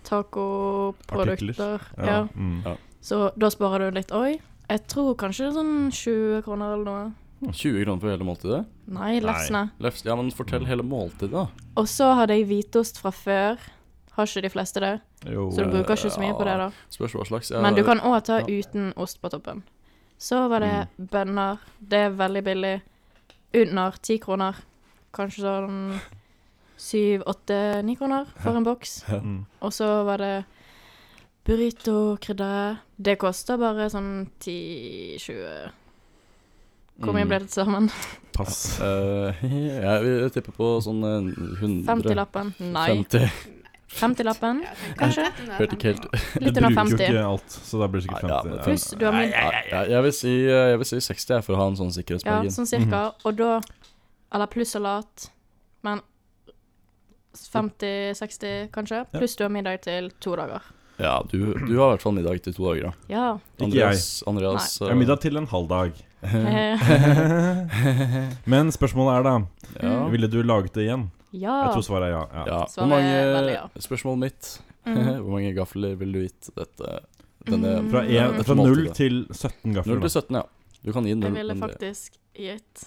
S3: tacoprodukter.
S2: Ja.
S3: Ja.
S2: Mm.
S3: Så da sparer du litt òg. Jeg tror kanskje det er sånn 20 kroner eller noe.
S1: 20 kroner for hele måltidet?
S3: Nei, lefsene.
S1: Lefse, ja, men fortell hele måltidet, da.
S3: Og så hadde jeg hvitost fra før. Har ikke de fleste det,
S2: Jo.
S3: så du bruker ikke så mye på det, da.
S1: Spørs hva slags.
S3: Men du kan òg ta
S1: Ja.
S3: uten ost på toppen. Så var det bønner. Det er veldig billig. Under ti kroner. Kanskje sånn syv, åtte, ni kroner for en boks.
S2: Mm.
S3: Og så var det burrito, krydder Det koster bare sånn 10-20 Hvor mye
S1: Mm.
S3: ble det til sammen?
S2: Pass.
S1: Eh, jeg vil tippe på sånn eh, 100
S3: 50-lappen? Nei.
S1: 50.
S3: 50-lappen? Kanskje?
S1: Hørte ikke helt
S3: Litt
S2: du bruker
S3: under
S2: jo
S3: 50.
S2: ikke alt, så da blir det sikkert
S1: Ja,
S2: 50.
S1: men
S2: Ja,
S3: Pluss du har min
S1: Nei, jeg, jeg, vil si, eh, jeg vil si 60 jeg, for å ha en sånn
S3: Ja,
S1: sikkerhetsmargin.
S3: sånn cirka.
S2: Mhm.
S3: Og da Eller pluss salat, men 50-60, kanskje.
S2: Ja.
S3: Pluss du har middag til to dager.
S1: Ja, du, du har i hvert fall middag til to dager, da.
S3: Ja.
S2: Ikke
S1: Andreas, Andreas
S2: Det er
S1: eh,
S2: middag til en halv dag.
S3: Eh,
S2: Men spørsmålet er da,
S1: eh, Ja.
S2: ville du laget det igjen?
S3: ja.
S2: Jeg tror svaret er ja. ja.
S1: Ja.
S3: Svaret
S1: Hvor
S3: er veldig ja.
S1: mange Spørsmålet mitt.
S3: Mm.
S1: Hvor mange gafler ville du gitt dette? Denne,
S3: Mm.
S2: Fra, en,
S1: dette
S2: fra 0
S1: måltidet?
S2: til 17
S1: Null
S2: gafler.
S1: til 17, ja. Du kan gi 0.
S3: Jeg ville faktisk gitt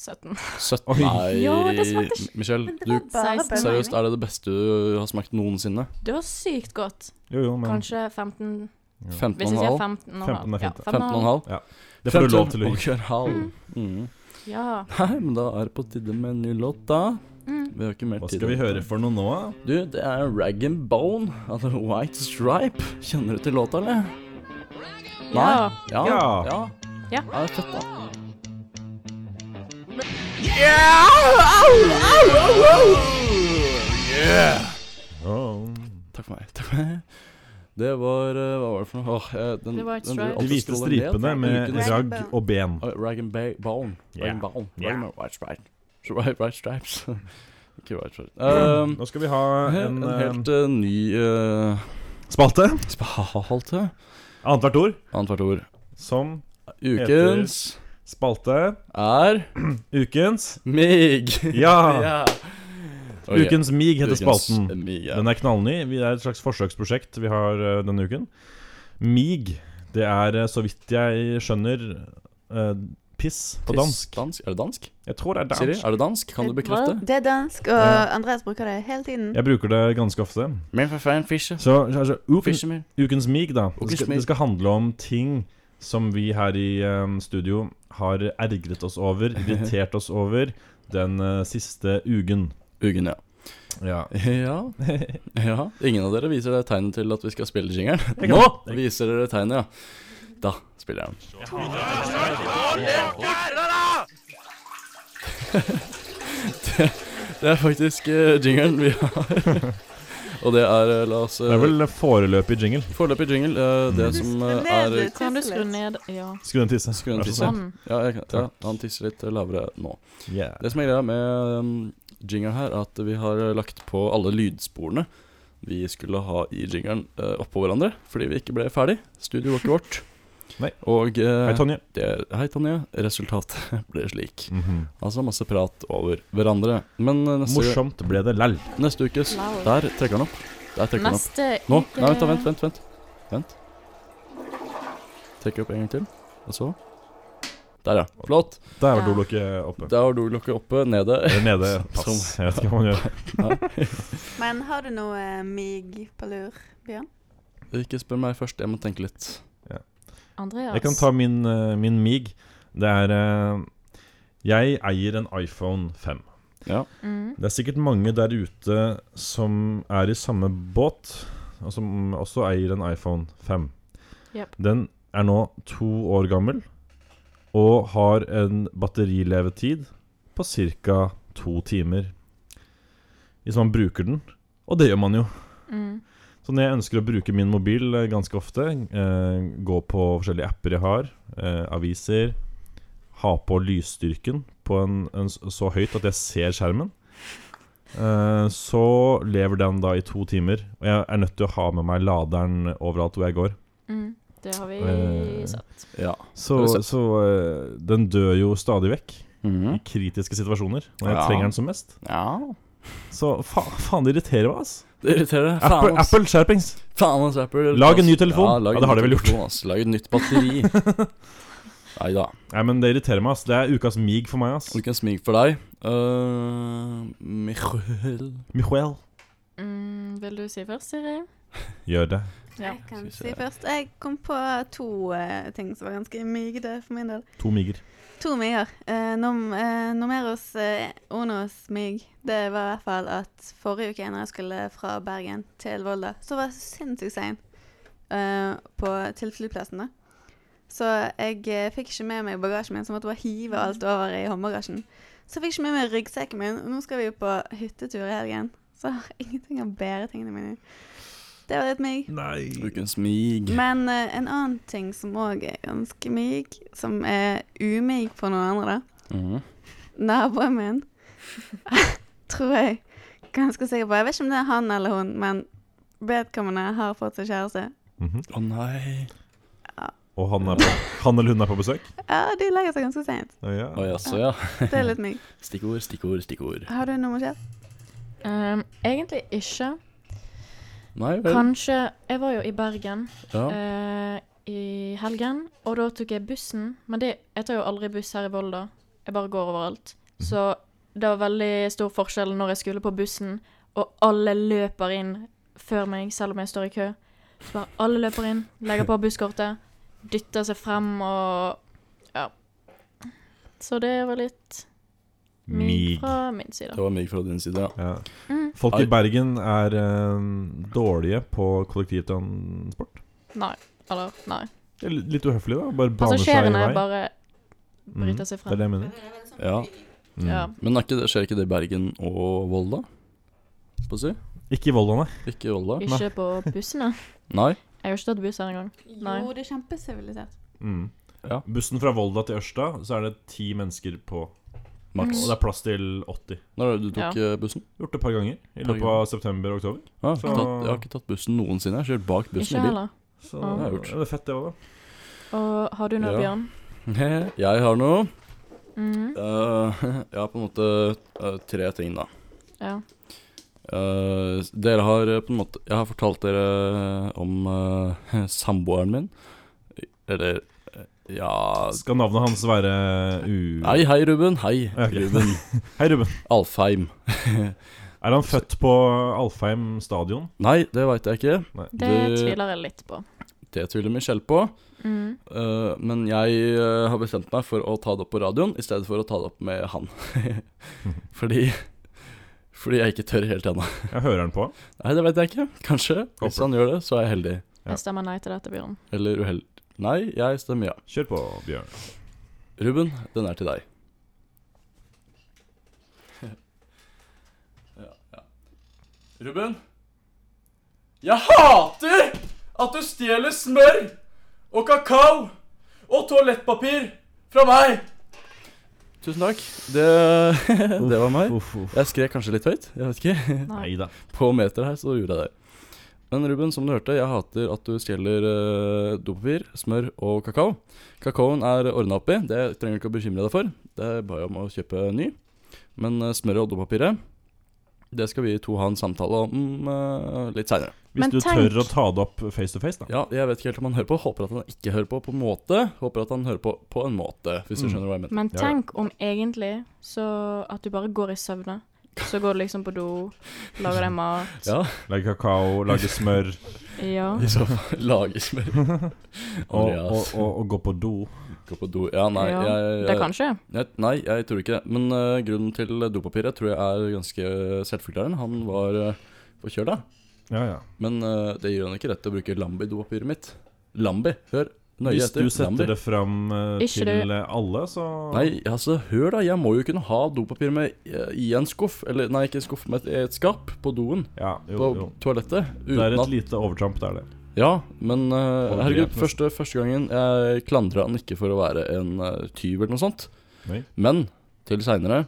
S3: 17.
S1: 17
S2: Oi.
S1: Nei,
S3: Jo, det smakte ikke-
S1: Michelle. Du, seriøst, er det det beste du har smakt noensinne?
S3: Det var sykt godt.
S2: Jo, jo, men
S3: Kanskje 15 Hvis jeg sier
S1: 15,5?
S3: 15 og
S2: 15 er
S3: halv. Ja,
S2: fint, da.
S3: 15 og halv.
S1: 15,5?
S2: det får du lov til å gjøre.
S1: 15,5. Mm.
S3: Ja.
S1: Nei, men da er det på tide med en ny låt, da.
S3: Mm.
S1: Vi har ikke mer
S2: Hva
S1: tid.
S2: skal vi
S1: enn
S2: høre
S1: det.
S2: for noe nå?
S1: Du, det er Rag and Bone av The White Stripe. Kjenner du til låta, eller?
S3: Ja.
S1: Ja. Ja.
S2: Ja.
S1: ja.
S3: Ja.
S1: det er fett, da.
S2: Oh.
S1: Takk for meg. Takk for meg. Det var eh, Hva var det for noe? Åh, eh, den,
S3: Det var et
S1: den
S3: stripe.
S2: De
S1: alltid
S2: hvite
S1: scroller
S2: stripene
S1: ned.
S2: med
S1: Ukene-
S2: ragg og ben.
S1: Ah, Rag and ba bone. Rag
S2: Yeah.
S1: and bone. Rag
S2: Yeah.
S1: and white stripes. Right, right stripes. Ikke right stripes. Um,
S2: Nå skal vi ha en,
S1: en, helt eh, ny uh,
S2: eh, spalte.
S1: spalte.
S2: Annethvert ord
S1: Annethvert ord.
S2: som
S1: Ukens
S2: spalte.
S1: er
S2: Ukens
S1: mig.
S2: Ja!
S1: Ja. Ok.
S2: Ukens mig heter
S1: Ukens
S2: spalten.
S1: mig, ja.
S2: Den er knallny. Vi er et slags forsøksprosjekt vi har eh, denne uken. MIG, det er eh, så vidt jeg skjønner eh, piss på
S1: Piss.
S2: dansk.
S1: dansk. Er det dansk?
S2: Jeg tror det er
S1: Siri,
S2: dansk.
S1: er det dansk? Kan du bekrefte?
S4: Det er dansk, og
S2: Ja.
S4: Andreas bruker det hele tiden.
S2: Jeg bruker det ganske ofte.
S1: Men for faen, fisje.
S2: Så altså, uken,
S1: Fisje mer.
S2: ukens MIG, da.
S1: Ukens
S2: Det skal,
S1: mig.
S2: det skal handle om ting som vi her i eh, studio har ergret oss over, irritert oss over, den eh, siste uken.
S1: Ugen, ja.
S2: Ja.
S1: ja. Ja. Ingen av dere viser det tegnet til at vi skal spille jingeren.
S2: Jeg kan-
S1: Nå
S2: jeg-
S1: viser dere tegnet, ja. Da spiller jeg den. Det, det er faktisk eh, jingeren vi har. Og det er, eh, la oss eh,
S2: Det er vel foreløpig jingle.
S1: Foreløpig jingle. eh, Det som eh, er
S3: Kan du skru ned Ja.
S2: Skru den tisse.
S1: Skru den
S2: Vær så
S1: tisse.
S2: snill.
S3: Sånn.
S1: ja, jeg, kan- ja, han tisser litt lavere nå.
S2: Yeah.
S1: Det som er greia med um, jingeren her, er at vi har lagt på alle lydsporene vi skulle ha i jingeren eh, oppå hverandre, fordi vi ikke ble ferdig. Studio var ikke vårt.
S2: Nei.
S1: Og eh,
S2: Hei, Tonje.
S1: det er, hei, Tonje. Resultatet ble slik.
S2: Mhm.
S1: Altså masse prat over hverandre. Men eh, neste,
S2: Morsomt ble det lell.
S1: neste ukes
S3: Wow.
S1: Der trekker han opp. Der trekker han opp.
S3: Neste
S1: Nå!
S3: uke-
S1: Nei, vent, da, vent, vent. Vent. vent. Trekker opp en gang til. Og så Der, ja. Flott.
S2: Der var
S3: Ja.
S2: dolokket oppe.
S1: Der var dolokket oppe, nede.
S2: Eller nede. Pass.
S1: Som-
S2: Jeg vet ikke hva man gjør.
S4: Men har du noe eh, mig på lur, Bjørn?
S1: Ikke spør meg først, jeg må tenke litt.
S3: Andreas.
S2: Jeg kan ta min, eh, min mig. Det er eh, Jeg eier en iPhone 5.
S3: Mm.
S2: Det er sikkert mange der ute som er i samme båt, og som også eier en iPhone 5.
S3: Jep.
S2: Den er nå to år gammel og har en batterilevetid på ca. to timer. Hvis man bruker den, og det gjør man jo.
S3: Mm.
S2: Så når jeg ønsker å bruke min mobil eh, ganske ofte, eh, gå på forskjellige apper jeg har, eh, aviser, ha på lysstyrken på en, en s- så høyt at jeg ser skjermen, eh, så lever den da i to timer. Og jeg er nødt til å ha med meg laderen overalt hvor jeg går.
S3: Mm. Det har vi
S2: Eh,
S3: sett.
S1: Ja.
S2: Så,
S1: Har du sett?
S2: så eh, den dør jo stadig vekk i kritiske situasjoner, når jeg
S1: Ja.
S2: trenger den som mest.
S1: ja.
S2: Så fa faen, det irriterer meg, ass.
S1: Det irriterer deg.
S2: Apple,
S1: Faen, ass.
S2: Apple skjerpings!
S1: Faen, ass, Apple.
S2: Lag en ny
S1: Ass.
S2: telefon.
S1: lag
S2: Ja,
S1: en
S2: det har
S1: ny
S2: de vel gjort.
S1: telefon, ass. Lag et nytt batteri. Nei da.
S2: Nei, men det irriterer meg, ass. Det er ukas mig for meg, ass.
S1: Hvilken smig for deg? Uh, Michael
S2: Michael.
S3: Mm. Vil du si først, Siri?
S2: Gjør det.
S3: Ja.
S4: Jeg kan
S1: Synes
S4: si
S1: jeg-
S4: først. Jeg kom på to eh, ting som var ganske mygde for min del.
S2: To miger.
S4: To miger. Eh, nom, eh, Nomeros eh, Onos mig. Det var i hvert fall at forrige uke når jeg skulle fra Bergen til Volda, så var jeg sinnssykt sein eh, på- til flyplassen. da. Så jeg eh, fikk ikke med meg bagasjen min, så måtte jeg bare hive alt over i håndbagasjen. Så jeg fikk ikke med meg ryggsekken min, og nå skal vi jo på hyttetur i helgen. Så jeg har ingenting å bære tingene mine i. Det var litt meg.
S2: Nei.
S1: Hvilken smig?
S4: Men eh, en annen ting som òg er ganske myk, som er umyk for noen andre, da
S1: Mhm.
S4: naboen min Tror jeg ganske sikker på. Jeg vet ikke om det er han eller hun, men vedkommende har fått seg kjæreste.
S1: Å nei.
S2: Mhm. Og han, er på, han eller hun er på besøk?
S4: Ja, de legger seg ganske seint.
S2: Å, ja.
S1: Å jaså, ja.
S4: Det er litt mykt.
S1: Stikkord, stikkord, stikkord.
S4: Har du noe kjæreste?
S3: Um, egentlig ikke.
S1: Nei vel.
S3: Kanskje Jeg var jo i Bergen
S1: Ja.
S3: eh, i helgen, og da tok jeg bussen. Men det, jeg tar jo aldri buss her i Volda. Jeg bare går overalt.
S1: Mhm.
S3: Så det var veldig stor forskjell når jeg skulle på bussen, og alle løper inn før meg, selv om jeg står i kø. Så bare alle løper inn, legger på busskortet, dytter seg frem og Ja. Så det var litt mig
S2: Mig.
S3: fra min side.
S1: Det var mig fra din side, ja.
S2: Ja.
S3: Mm.
S2: Folk
S1: Ai.
S2: i Bergen er eh, dårlige på kollektivtransport.
S3: Nei. Eller nei.
S2: Det er li- litt uhøflig, da. Bare baner seg i
S3: Passasjerene
S2: vei.
S3: Altså, bare
S2: Mhm,
S3: bryter seg
S2: Det er
S3: frem.
S2: det jeg mener.
S1: ja.
S2: Mm.
S3: Ja.
S1: Men er ikke det, skjer ikke det i Bergen og Volda? På å si?
S2: Ikke i Volda, nei.
S1: Ikke i Volda?
S3: Ikke på bussene.
S1: Nei.
S3: Jeg har ikke tatt buss her engang. Nei.
S4: Jo, det er kjempesivilisert.
S2: Mm.
S1: Ja.
S2: Bussen fra Volda til Ørsta, så er det ti mennesker på.
S1: Maks.
S2: Og det er plass til 80.
S1: Når er det du tok eh, bussen?
S2: Gjort det et par ganger i løpet av september og oktober.
S1: Ja, jeg,
S2: Så-
S1: har ikke Ah, tatt, jeg har ikke tatt bussen noensinne. Jeg har kjørt bak bussen
S3: Ikke
S1: i bil.
S3: heller.
S2: Så
S3: Ja.
S1: Det er gjort.
S2: ja, det er fett, det òg, da.
S3: Og har du noe,
S1: Ja.
S3: Bjørn?
S1: Jeg har noe.
S3: Mhm,
S1: Eh, jeg har på en måte eh, tre ting, da.
S3: Ja.
S1: Eh, s- dere har eh, på en måte Jeg har fortalt dere om eh, samboeren min. Eller eh, Ja
S2: Skal navnet hans være u...
S1: Hei, hei, Ruben. Hei,
S2: Ja, ok.
S1: Ruben
S2: Hei, Ruben.
S1: Alfheim.
S2: Er han født på Alfheim stadion?
S1: Nei, det veit jeg ikke.
S3: Det
S1: Du-
S3: tviler jeg litt på.
S1: Det tviler Michelle på.
S3: Mm.
S1: Eh, men jeg eh, har bestemt meg for å ta det opp på radioen i stedet for å ta det opp med han. fordi Fordi jeg ikke tør helt ennå.
S2: Jeg hører han på.
S1: Nei, det veit jeg ikke. Kanskje. Hvis
S2: Håper.
S1: han gjør det, så er jeg heldig.
S2: Ja.
S3: Jeg stemmer nei til dette, Bjørn.
S1: Eller uheldig. Nei, jeg stemmer ja.
S2: Kjør på, Bjørn.
S1: Ruben, den er til deg. ja, ja. Ruben? Jeg hater at du stjeler smør og kakao og toalettpapir fra meg! Tusen takk. Det, det var meg.
S2: Uff, uff.
S1: Jeg skrek kanskje litt høyt. Jeg vet ikke.
S2: Nei da.
S1: På meter her så gjorde jeg det. Men Ruben, som du hørte, jeg hater at du stjeler eh, dopapir, smør og kakao. Kakaoen er ordna opp i, det trenger du ikke å bekymre deg for. Det er bare om å kjøpe ny. Men eh, smøret og dopapiret, det skal vi to ha en samtale om eh, litt seinere.
S2: Hvis
S3: Men
S2: du
S3: tenk-
S2: tør å ta det opp face to face, da.
S1: Ja, jeg vet ikke helt om han hører på. Håper at han ikke hører på på en måte. Håper at han hører på på en måte, hvis du
S2: Mm.
S1: skjønner hva jeg mener.
S3: Men
S2: Ja, ja.
S3: tenk om egentlig så at du bare går i søvne. Så går du liksom på do, lager deg mat.
S1: Ja.
S2: Lage kakao, lage smør
S3: Ja.
S1: I så fall lage smør.
S2: og, og,
S1: Andreas
S2: og, og gå på do.
S1: gå på do. Ja, nei,
S3: Ja,
S1: jeg, jeg
S3: Det kan skje.
S1: Jeg, nei, jeg tror ikke det. Men eh, grunnen til dopapiret tror jeg er ganske selvforklarende. Han var uh, forkjøla.
S2: Ja, ja.
S1: Men eh, det gir han ikke rett til å bruke Lambi-dopapiret mitt. Lambi, hør nøye
S2: Hvis
S1: etter.
S2: du setter
S1: Lambi.
S2: det fram eh,
S3: Ikke
S2: til
S3: det-
S2: eh, alle, så
S1: Nei, altså, hør da. Jeg må jo kunne ha dopapir med eh, i en skuff. Eller nei, ikke en skuff, men et, et skap på doen.
S2: Ja,
S1: På
S2: jo, jo.
S1: toalettet.
S2: Det er
S1: Uten
S2: et
S1: at
S2: lite overtramp, det er det.
S1: Ja, men eh, herregud,
S2: grep, men-
S1: første, første gangen jeg klandra han ikke for å være en eh, tyv eller noe sånt.
S2: Nei.
S1: Men til seinere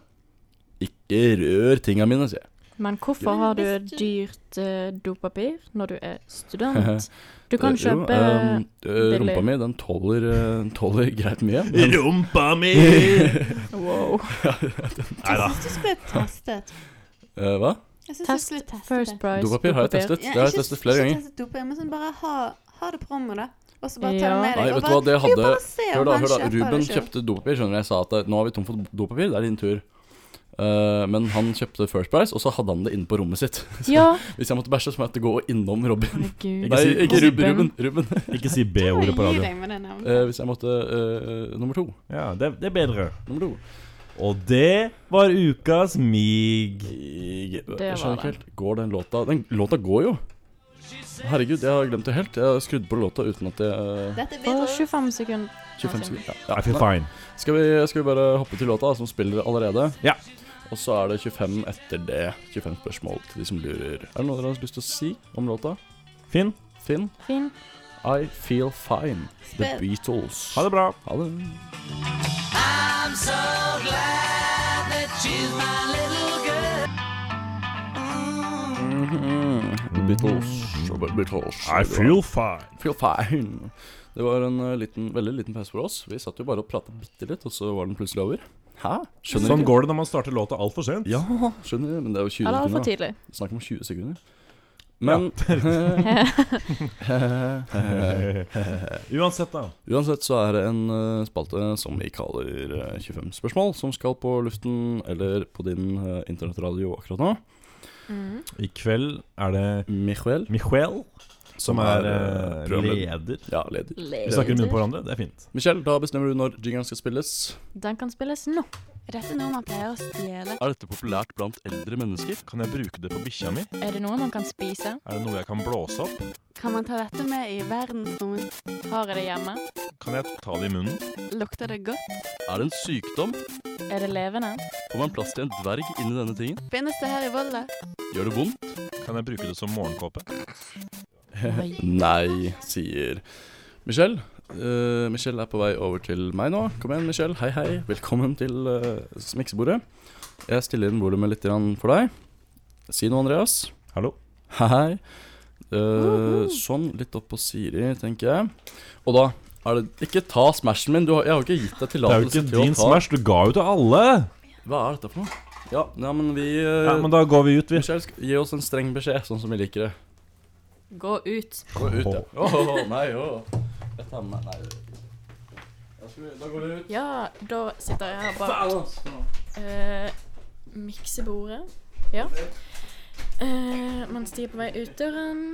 S1: Ikke rør tinga mine, sier jeg.
S3: Men hvorfor har du et dyrt eh, dopapir når du er student? Du kan
S1: Eh, jo,
S3: kjøpe
S1: ehm, eh,
S3: billig.
S1: Rumpa mi, den tåler, eh, den tåler greit mye. Men,
S2: Rumpa mi!
S3: Wow.
S2: Nei da.
S4: Jeg syns du skulle testet.
S1: eh, hva?
S4: Jeg synes
S3: Test
S4: du skulle testet
S3: First
S4: det.
S3: Price
S1: Dopapir har jeg testet.
S4: Ja,
S1: Det har jeg
S4: ikke-
S1: testet flere
S4: ikke
S1: ganger.
S4: testet dopapir, men sånn bare ha, ha det på rommet, da. Og så bare ta
S3: Ja.
S4: det med deg.
S1: Nei, vet
S4: og
S1: du
S4: bare-
S1: hva, det
S4: Jo, bare
S1: hadde
S4: se om
S1: Hør da,
S4: han
S1: hør da,
S4: kjøper det
S1: Ruben
S4: selv.
S1: kjøpte dopapir. Skjønner du, Jeg sa at eh, nå er vi tom for dopapir, det er din tur. Eh, men han kjøpte First Price, og så hadde han det inne på rommet sitt.
S3: Ja.
S1: Hvis jeg måtte bæsje, så måtte jeg gå innom Robin.
S3: Herregud.
S1: Nei,
S2: si-
S1: ikke Ruben. Ruben. Ruben.
S2: Ikke si
S4: Bare
S2: B-ordet på
S4: gi
S2: radio.
S4: deg med det navnet.
S1: Eh, hvis jeg måtte eh, Nummer to.
S2: Ja, det, det er bedre.
S1: Nummer to.
S2: Og det var ukas mig.
S1: Jeg,
S3: var
S1: jeg skjønner ikke
S3: det.
S1: helt. Går den låta Den låta går jo. Herregud, jeg har glemt det helt. Jeg har skrudd på låta uten at jeg eh,
S4: Dette er
S3: For
S4: videre.
S3: 25 sekunder.
S1: 25 sekunder.
S2: I
S1: Ja, ja.
S2: feel fine.
S1: Skal vi, skal vi bare hoppe til låta som spiller allerede?
S2: Ja.
S1: Og så er det 25 etter det. 25 spørsmål til de som lurer. Er det noe dere har lyst til å si om låta?
S2: Finn,
S1: Finn,
S3: Fin.
S1: I Feel Fine, The
S4: Spill.
S1: Beatles.
S2: ha det bra.
S1: Ha det. Mhm. The Beatles.
S2: Mm.
S1: The Beatles.
S2: fine.
S1: Feel fine. Det var en eh, liten, veldig liten pause for oss. Vi satt jo bare og prata bitte litt, og så var den plutselig over. Hæ? Skjønner
S2: Sånn
S1: ikke.
S2: går det når man starter låta altfor sent.
S1: Ja, skjønner. Men det er jo 20
S3: Eller altfor
S1: sekunder.
S3: tidlig.
S1: da. Snakk om 20 sekunder. Men
S2: Uansett, da.
S1: Uansett så er det en eh, spalte som vi kaller eh, 25 spørsmål, som skal på luften eller på din eh, internettradio akkurat nå.
S3: Mm.
S2: I kveld er det
S1: Michael,
S2: Michael som er
S1: eh,
S2: eh,
S1: programleder.
S2: leder.
S1: Ja, leder.
S2: Vi snakker i munnen på hverandre. Det er fint.
S1: Michelle, da bestemmer du når jingeren skal spilles.
S3: Den kan spilles nå.
S4: Er dette noe man pleier å stjele?
S1: Er dette populært blant eldre mennesker?
S2: Kan jeg bruke det på bikkja mi?
S3: Er det noe man kan spise?
S2: Er det noe jeg kan blåse opp?
S4: Kan man ta dette med i verdensrommet?
S3: Har jeg det hjemme?
S2: Kan jeg ta det i munnen?
S4: Lukter det godt?
S1: Er det en sykdom?
S3: Er det levende?
S1: Får man plass til en dverg inni denne tingen?
S4: Finnes det her i Volda?
S1: Gjør det vondt?
S2: Kan jeg bruke det som morgenkåpe?
S3: Oi.
S1: Nei, sier Michelle. Eh, Michelle er på vei over til meg nå. Kom igjen, Michelle. Hei, hei. Velkommen til eh, miksebordet. Jeg stiller inn volumet litt grann for deg. Si noe, Andreas.
S2: Hallo?
S1: Hei, hei. Eh, Sånn, litt opp på Siri, tenker jeg. Og da er det Ikke ta smashen min. Du har, jeg har jo ikke gitt deg
S2: Det er jo
S1: tillatelse
S2: ikke
S1: til å
S2: din
S1: ta
S2: Smash, du ga jo til alle!
S1: Hva er dette for noe? Ja, ja men vi eh,
S2: Ja, men da går vi ut, vi.
S1: Michelle, sk- gi oss en streng beskjed, sånn som vi liker det.
S3: Gå ut.
S1: Gå ut, ja. Åh, nei, åh. Jeg tar med meg Nei. Da, skal vi, da går vi ut.
S3: Ja, da sitter jeg her bak
S1: Faen, ass.
S3: eh, miksebordet. Ja. Eh, mens de er på vei ut døren.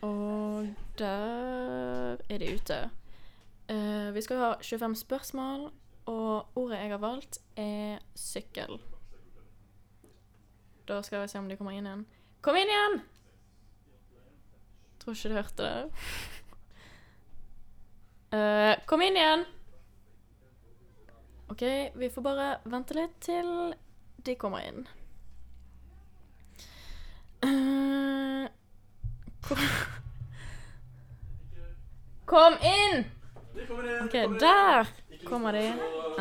S3: Og der er de ute. Eh, vi skal ha 25 spørsmål, og ordet jeg har valgt, er sykkel. Da skal vi se om de kommer inn igjen. Kom inn igjen! Tror ikke du hørte det. Eh, kom inn igjen! OK, vi får bare vente litt til de kommer inn. Eh, kom. kom inn! OK, der kommer de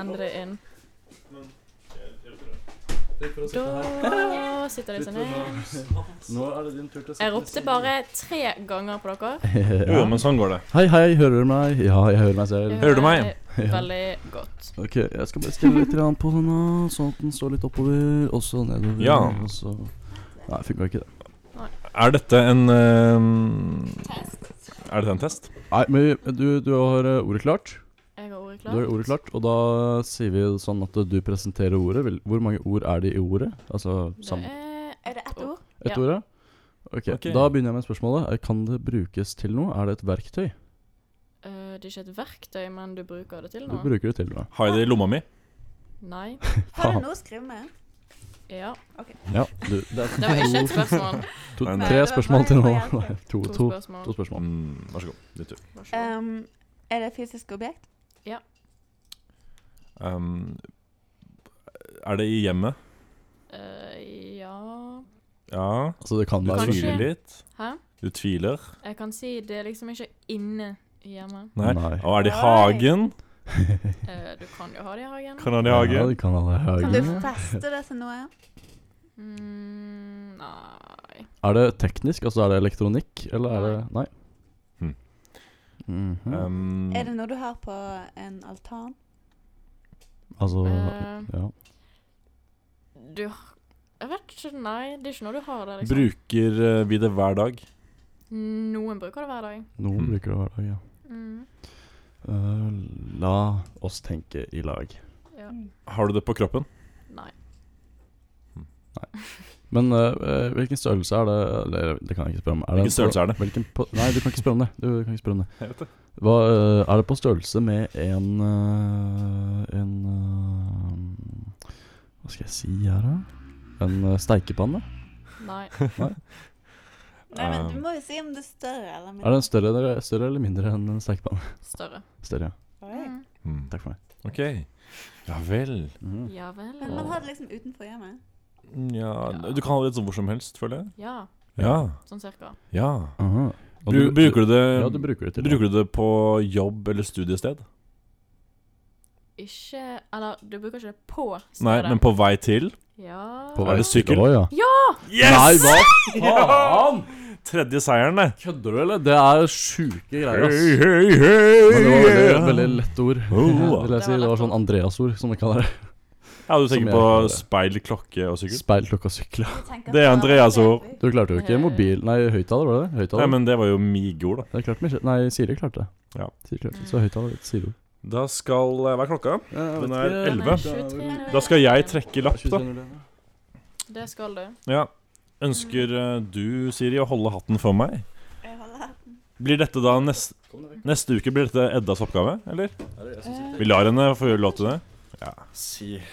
S3: endelig inn. Da sitter de seg ned.
S1: Nå er det din tur til å
S3: Jeg ropte bare tre ganger på dere.
S2: Jo, men sånn går det.
S1: Hei, hei, hører du meg? Ja, jeg hører meg selv.
S2: Hører du meg?
S3: Hører Eh, Veldig godt.
S1: Ok, jeg skal bare stille litt grann på den, nå, sånn at den står litt oppover, og så nedover.
S2: Ja.
S1: og så... Nei, funka ikke det.
S2: Er dette en eh, Er dette en test?
S1: Nei, men du, du har eh, ordet klart.
S3: Jeg har ordet
S1: Du har ordet
S3: klart.
S1: klart, og da sier vi sånn at du presenterer ordet. Vil- Hvor mange ord er det i ordet? Altså
S3: Det
S1: sammen.
S3: er
S4: Er det ett ord?
S1: Ett
S3: ja.
S1: ord, ja? Ok,
S2: Ok.
S1: Da begynner jeg med spørsmålet. Eh, Kan det brukes til noe? Er det et verktøy?
S3: Eh, det er ikke et verktøy, men du bruker det til
S1: Du
S3: noe?
S1: bruker det til noe.
S2: Har jeg det i lomma mi?
S3: Nei.
S4: Har du noe å skrive med?
S3: Ja.
S1: Ja, du, det er
S3: Det var ikke et spørsmål.
S1: to,
S2: Nei, nei.
S1: tre
S4: Nei, det var
S1: spørsmål til nå.
S4: bare en
S1: Nei, to,
S3: To
S1: to,
S3: spørsmål.
S1: to spørsmål.
S2: Mm, vær så god. Din tur.
S3: Vær så god.
S4: Um, er det et fysisk objekt?
S2: Um, er det i hjemmet?
S3: Eh, ja
S2: Ja.
S1: Altså, det kan
S2: Du
S1: være
S3: Kanskje.
S2: tviler litt.
S3: Hæ?
S2: Du tviler.
S3: Jeg kan si det er liksom ikke inne hjemme.
S2: Nei.
S1: Nei.
S2: Og er det i
S4: Nei.
S2: hagen?
S3: Eh, du kan jo ha det i hagen.
S2: Kan han i
S1: Ja,
S2: hagen?
S1: det kan alle
S4: Kan
S1: hagen.
S4: du
S3: Ja.
S4: feste det til noe?
S3: Mm, nei
S1: Er det teknisk? Altså, er det elektronikk, eller er det Nei.
S2: Hmm.
S1: Mhm.
S2: Um,
S4: Er det noe du har på en altan?
S1: Altså
S3: Eh,
S1: Ja.
S3: Du har- Jeg vet ikke. Nei, det er ikke noe du har der, liksom.
S2: bruker eh, vi det hver dag?
S3: Noen bruker det hver dag.
S1: Noen
S2: Hmm.
S1: bruker det hver dag, ja.
S3: Mm.
S1: Eh, la oss tenke i lag.
S3: Ja.
S2: Har du det på kroppen?
S3: Nei.
S1: Men eh, eh, hvilken størrelse er det Eller det kan jeg ikke spørre om. Er det
S2: Hvilken størrelse er det?
S1: Hvilken på, nei, du kan ikke spørre om det. Du kan ikke spørre om det.
S2: Jeg vet det.
S1: Hva, eh, er det på størrelse med en eh, En eh, Hva skal jeg si her, da? En eh, steikepanne?
S3: Nei.
S4: Nei, men
S2: Um,
S4: Du må jo si om det er større eller
S1: Er den større, eller- større eller mindre enn en steikepanne?
S3: Større.
S1: Større, ja.
S4: Oi.
S3: Mm.
S2: Mm.
S1: Takk for meg.
S2: Ok. Ja vel.
S1: Mhm.
S3: Ja vel.
S4: Men man har det liksom utenfor hjemmet.
S2: Ja,
S3: Ja.
S2: Du kan ha det litt sånn hvor som helst, føler jeg.
S3: Ja,
S2: Ja.
S3: sånn cirka.
S2: ja.
S1: Aha. Og
S2: Bru, bruker du det
S1: Ja, du bruker det til
S2: Bruker du det på jobb eller studiested?
S3: Ikke Eller, du bruker ikke det på stedet.
S2: Nei, men på vei til?
S3: Ja
S1: På
S2: Er
S1: vei
S2: det
S1: til-
S2: sykkel?
S1: Å, ja. Nei,
S2: Yes!
S1: hva
S2: Ja!
S1: faen?
S2: Tredje seieren, det.
S1: Kødder du, eller? Det er sjuke greier, ass.
S2: Hei, hei, hei!
S1: Men det var veldig, veldig lett ord.
S2: Oh.
S1: vil jeg si. Det var sånn Andreas-ord, som vi kaller det.
S2: Ja, du
S1: Som jeg
S2: tenker på
S1: kaller det.
S2: speil, klokke og sykkel?
S1: Speil, klokke og sykle.
S4: Jeg tenker
S2: Det er
S4: på-
S2: Andreas ord.
S1: Du klarte jo ikke
S3: Eh.
S1: mobil Nei, høyttaler, var det det? Høyttaler?
S2: Nei, men det var jo mig-ord, da.
S1: Det klarte Michelle. Nei, Siri klarte det.
S2: Ja.
S1: Siri klarte det. Så høyttaler litt Siri.
S2: Da skal eh, Hva er klokka? Den er
S3: Den er
S2: 11.
S3: 23.
S2: Da skal jeg trekke lapp, da.
S3: Det skal du.
S2: Ja. Ønsker eh, du, Siri, å holde hatten for meg?
S4: Jeg holder her.
S2: Blir dette da neste, neste uke blir dette Eddas oppgave, eller? Vi lar henne få gjøre lov til det.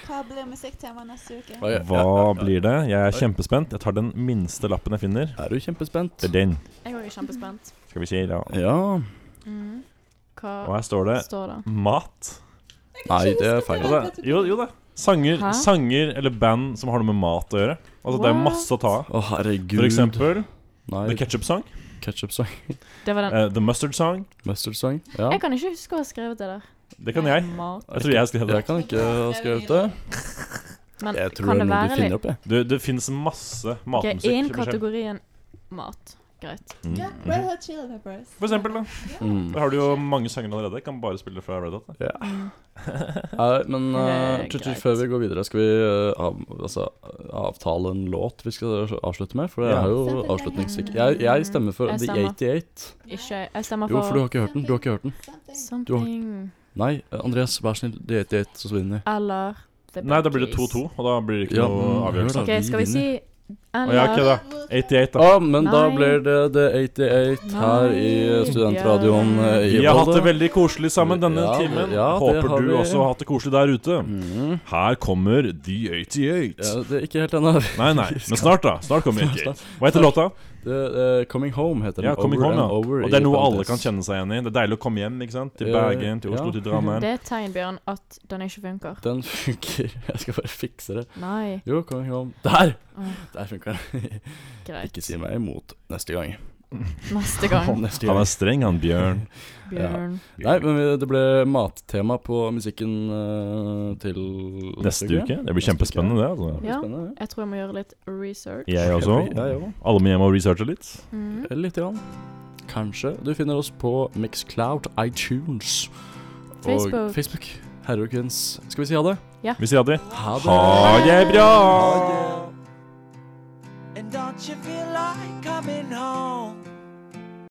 S4: Hva blir musikktema neste uke?
S2: Hva blir det? Jeg er kjempespent. Jeg tar den minste lappen jeg finner.
S1: Er du kjempespent?
S2: Det er den.
S3: Jeg òg er kjempespent.
S2: Skal vi si ja.
S1: Ja.
S3: Mm.
S2: Og
S3: Hva
S2: her står det
S3: står det?
S2: mat.
S1: Nei, det er feil.
S2: Og det, jo, jo da. Sanger,
S3: Hæ?
S2: sanger eller band som har noe med mat å gjøre. Altså Det er masse å ta av.
S1: Å, herregud.
S2: For eksempel
S1: Nei,
S2: The Ketchup Song,
S1: ketchup-sang.
S3: Det var den.
S2: eh, The Mustard Song.
S1: Mustard-sang. Ja.
S3: Jeg kan ikke huske å ha skrevet det der. Eh,
S2: Det kan jeg.
S3: Mat.
S2: Jeg tror jeg skrev det.
S1: Jeg kan ikke ha skrevet det.
S3: Men
S1: Jeg tror det
S3: kan det
S1: er noe de
S3: være litt
S1: finner opp, jeg.
S2: Det, det finnes masse
S3: Ok,
S2: matmusikk.
S3: Innen
S2: for seg.
S3: kategorien mat. greit.
S2: Mm.
S4: Ja, Red Hot Chili Peppers.
S2: For eksempel, da.
S1: Mm.
S2: Der har du jo mange sanger allerede. Kan bare spille fra Red Hot. da.
S1: Nei, men eh,
S3: Eh,
S1: tut, tut,
S3: greit.
S1: før vi går videre, skal vi eh, av, altså, avtale en låt vi skal avslutte med? For det
S2: Ja.
S1: er jo avslutningsstikk. Jeg, jeg stemmer for
S3: Jeg
S1: The
S3: stemmer.
S1: 88.
S3: Ikke Jeg stemmer
S1: Jo, for du
S3: for
S1: har ikke hørt den. Du har ikke hørt den.
S3: Something
S1: Nei, Andreas, vær snill. The 88, så vinner vi.
S3: eller The
S2: Nei, da blir det
S3: Bee Gees.
S2: 2-2, og da blir det ikke
S1: Ja,
S2: noe
S1: men hør
S2: avgjørelse.
S1: da.
S3: OK, skal vi si
S2: Å, ja, ok,
S3: eller
S2: da. 88, da.
S1: Ja, Ah, men da
S3: Nei.
S1: blir det The 88 her i
S3: Nei,
S1: studentradioen eh, i
S2: Vi har hatt det
S1: Volda.
S2: veldig koselig sammen denne
S1: Ja,
S2: timen.
S1: ja, det
S2: Håper
S1: har
S2: du
S1: vi.
S2: også har hatt det koselig der ute.
S1: Mm.
S2: Her kommer The 88.
S1: Ja, det er ikke helt ennå.
S2: Nei, nei, men snart, da. Snart kommer The 88. Hva heter låta?
S1: Det, eh, coming Home heter den.
S2: Ja, Coming
S1: Over
S2: Home,
S1: and
S2: ja.
S1: Over
S2: Og det
S1: i
S2: er noe alle
S1: parentes.
S2: kan kjenne seg igjen i. Det er deilig å komme hjem, ikke sant? Til
S1: Eh,
S2: Bergen, til Oslo,
S1: ja.
S2: til Drammen.
S3: Det er et tegn, Bjørn, at den ikke funker.
S1: Den funker. Jeg skal bare fikse det.
S3: Nei.
S1: Jo, Coming Home. Der!
S3: Åh,
S1: Der funker den.
S3: greit.
S1: Ikke si meg imot neste gang.
S3: Neste gang,
S1: Neste
S2: Han
S1: gang.
S2: er streng, han Bjørn.
S3: Bjørn.
S1: Nei, men vi- det ble mattema på musikken eh, til
S2: Neste uke. Det blir
S1: Neste uke.
S2: kjempespennende, det. altså.
S3: Ja,
S1: Spennende.
S3: jeg tror jeg må gjøre litt research.
S2: Jeg
S1: Ja, jeg
S2: også.
S1: også.
S2: Alle må hjem og researche litt.
S3: Mm.
S1: Litt. Grann. Kanskje. Du finner oss på Mixcloud, iTunes og
S3: Facebook.
S1: Facebook. Herre og kvinns. Skal vi si ha det?
S2: Vi sier ha det.
S1: Ha det!
S2: Ha det bra!
S6: And don't you feel like coming home?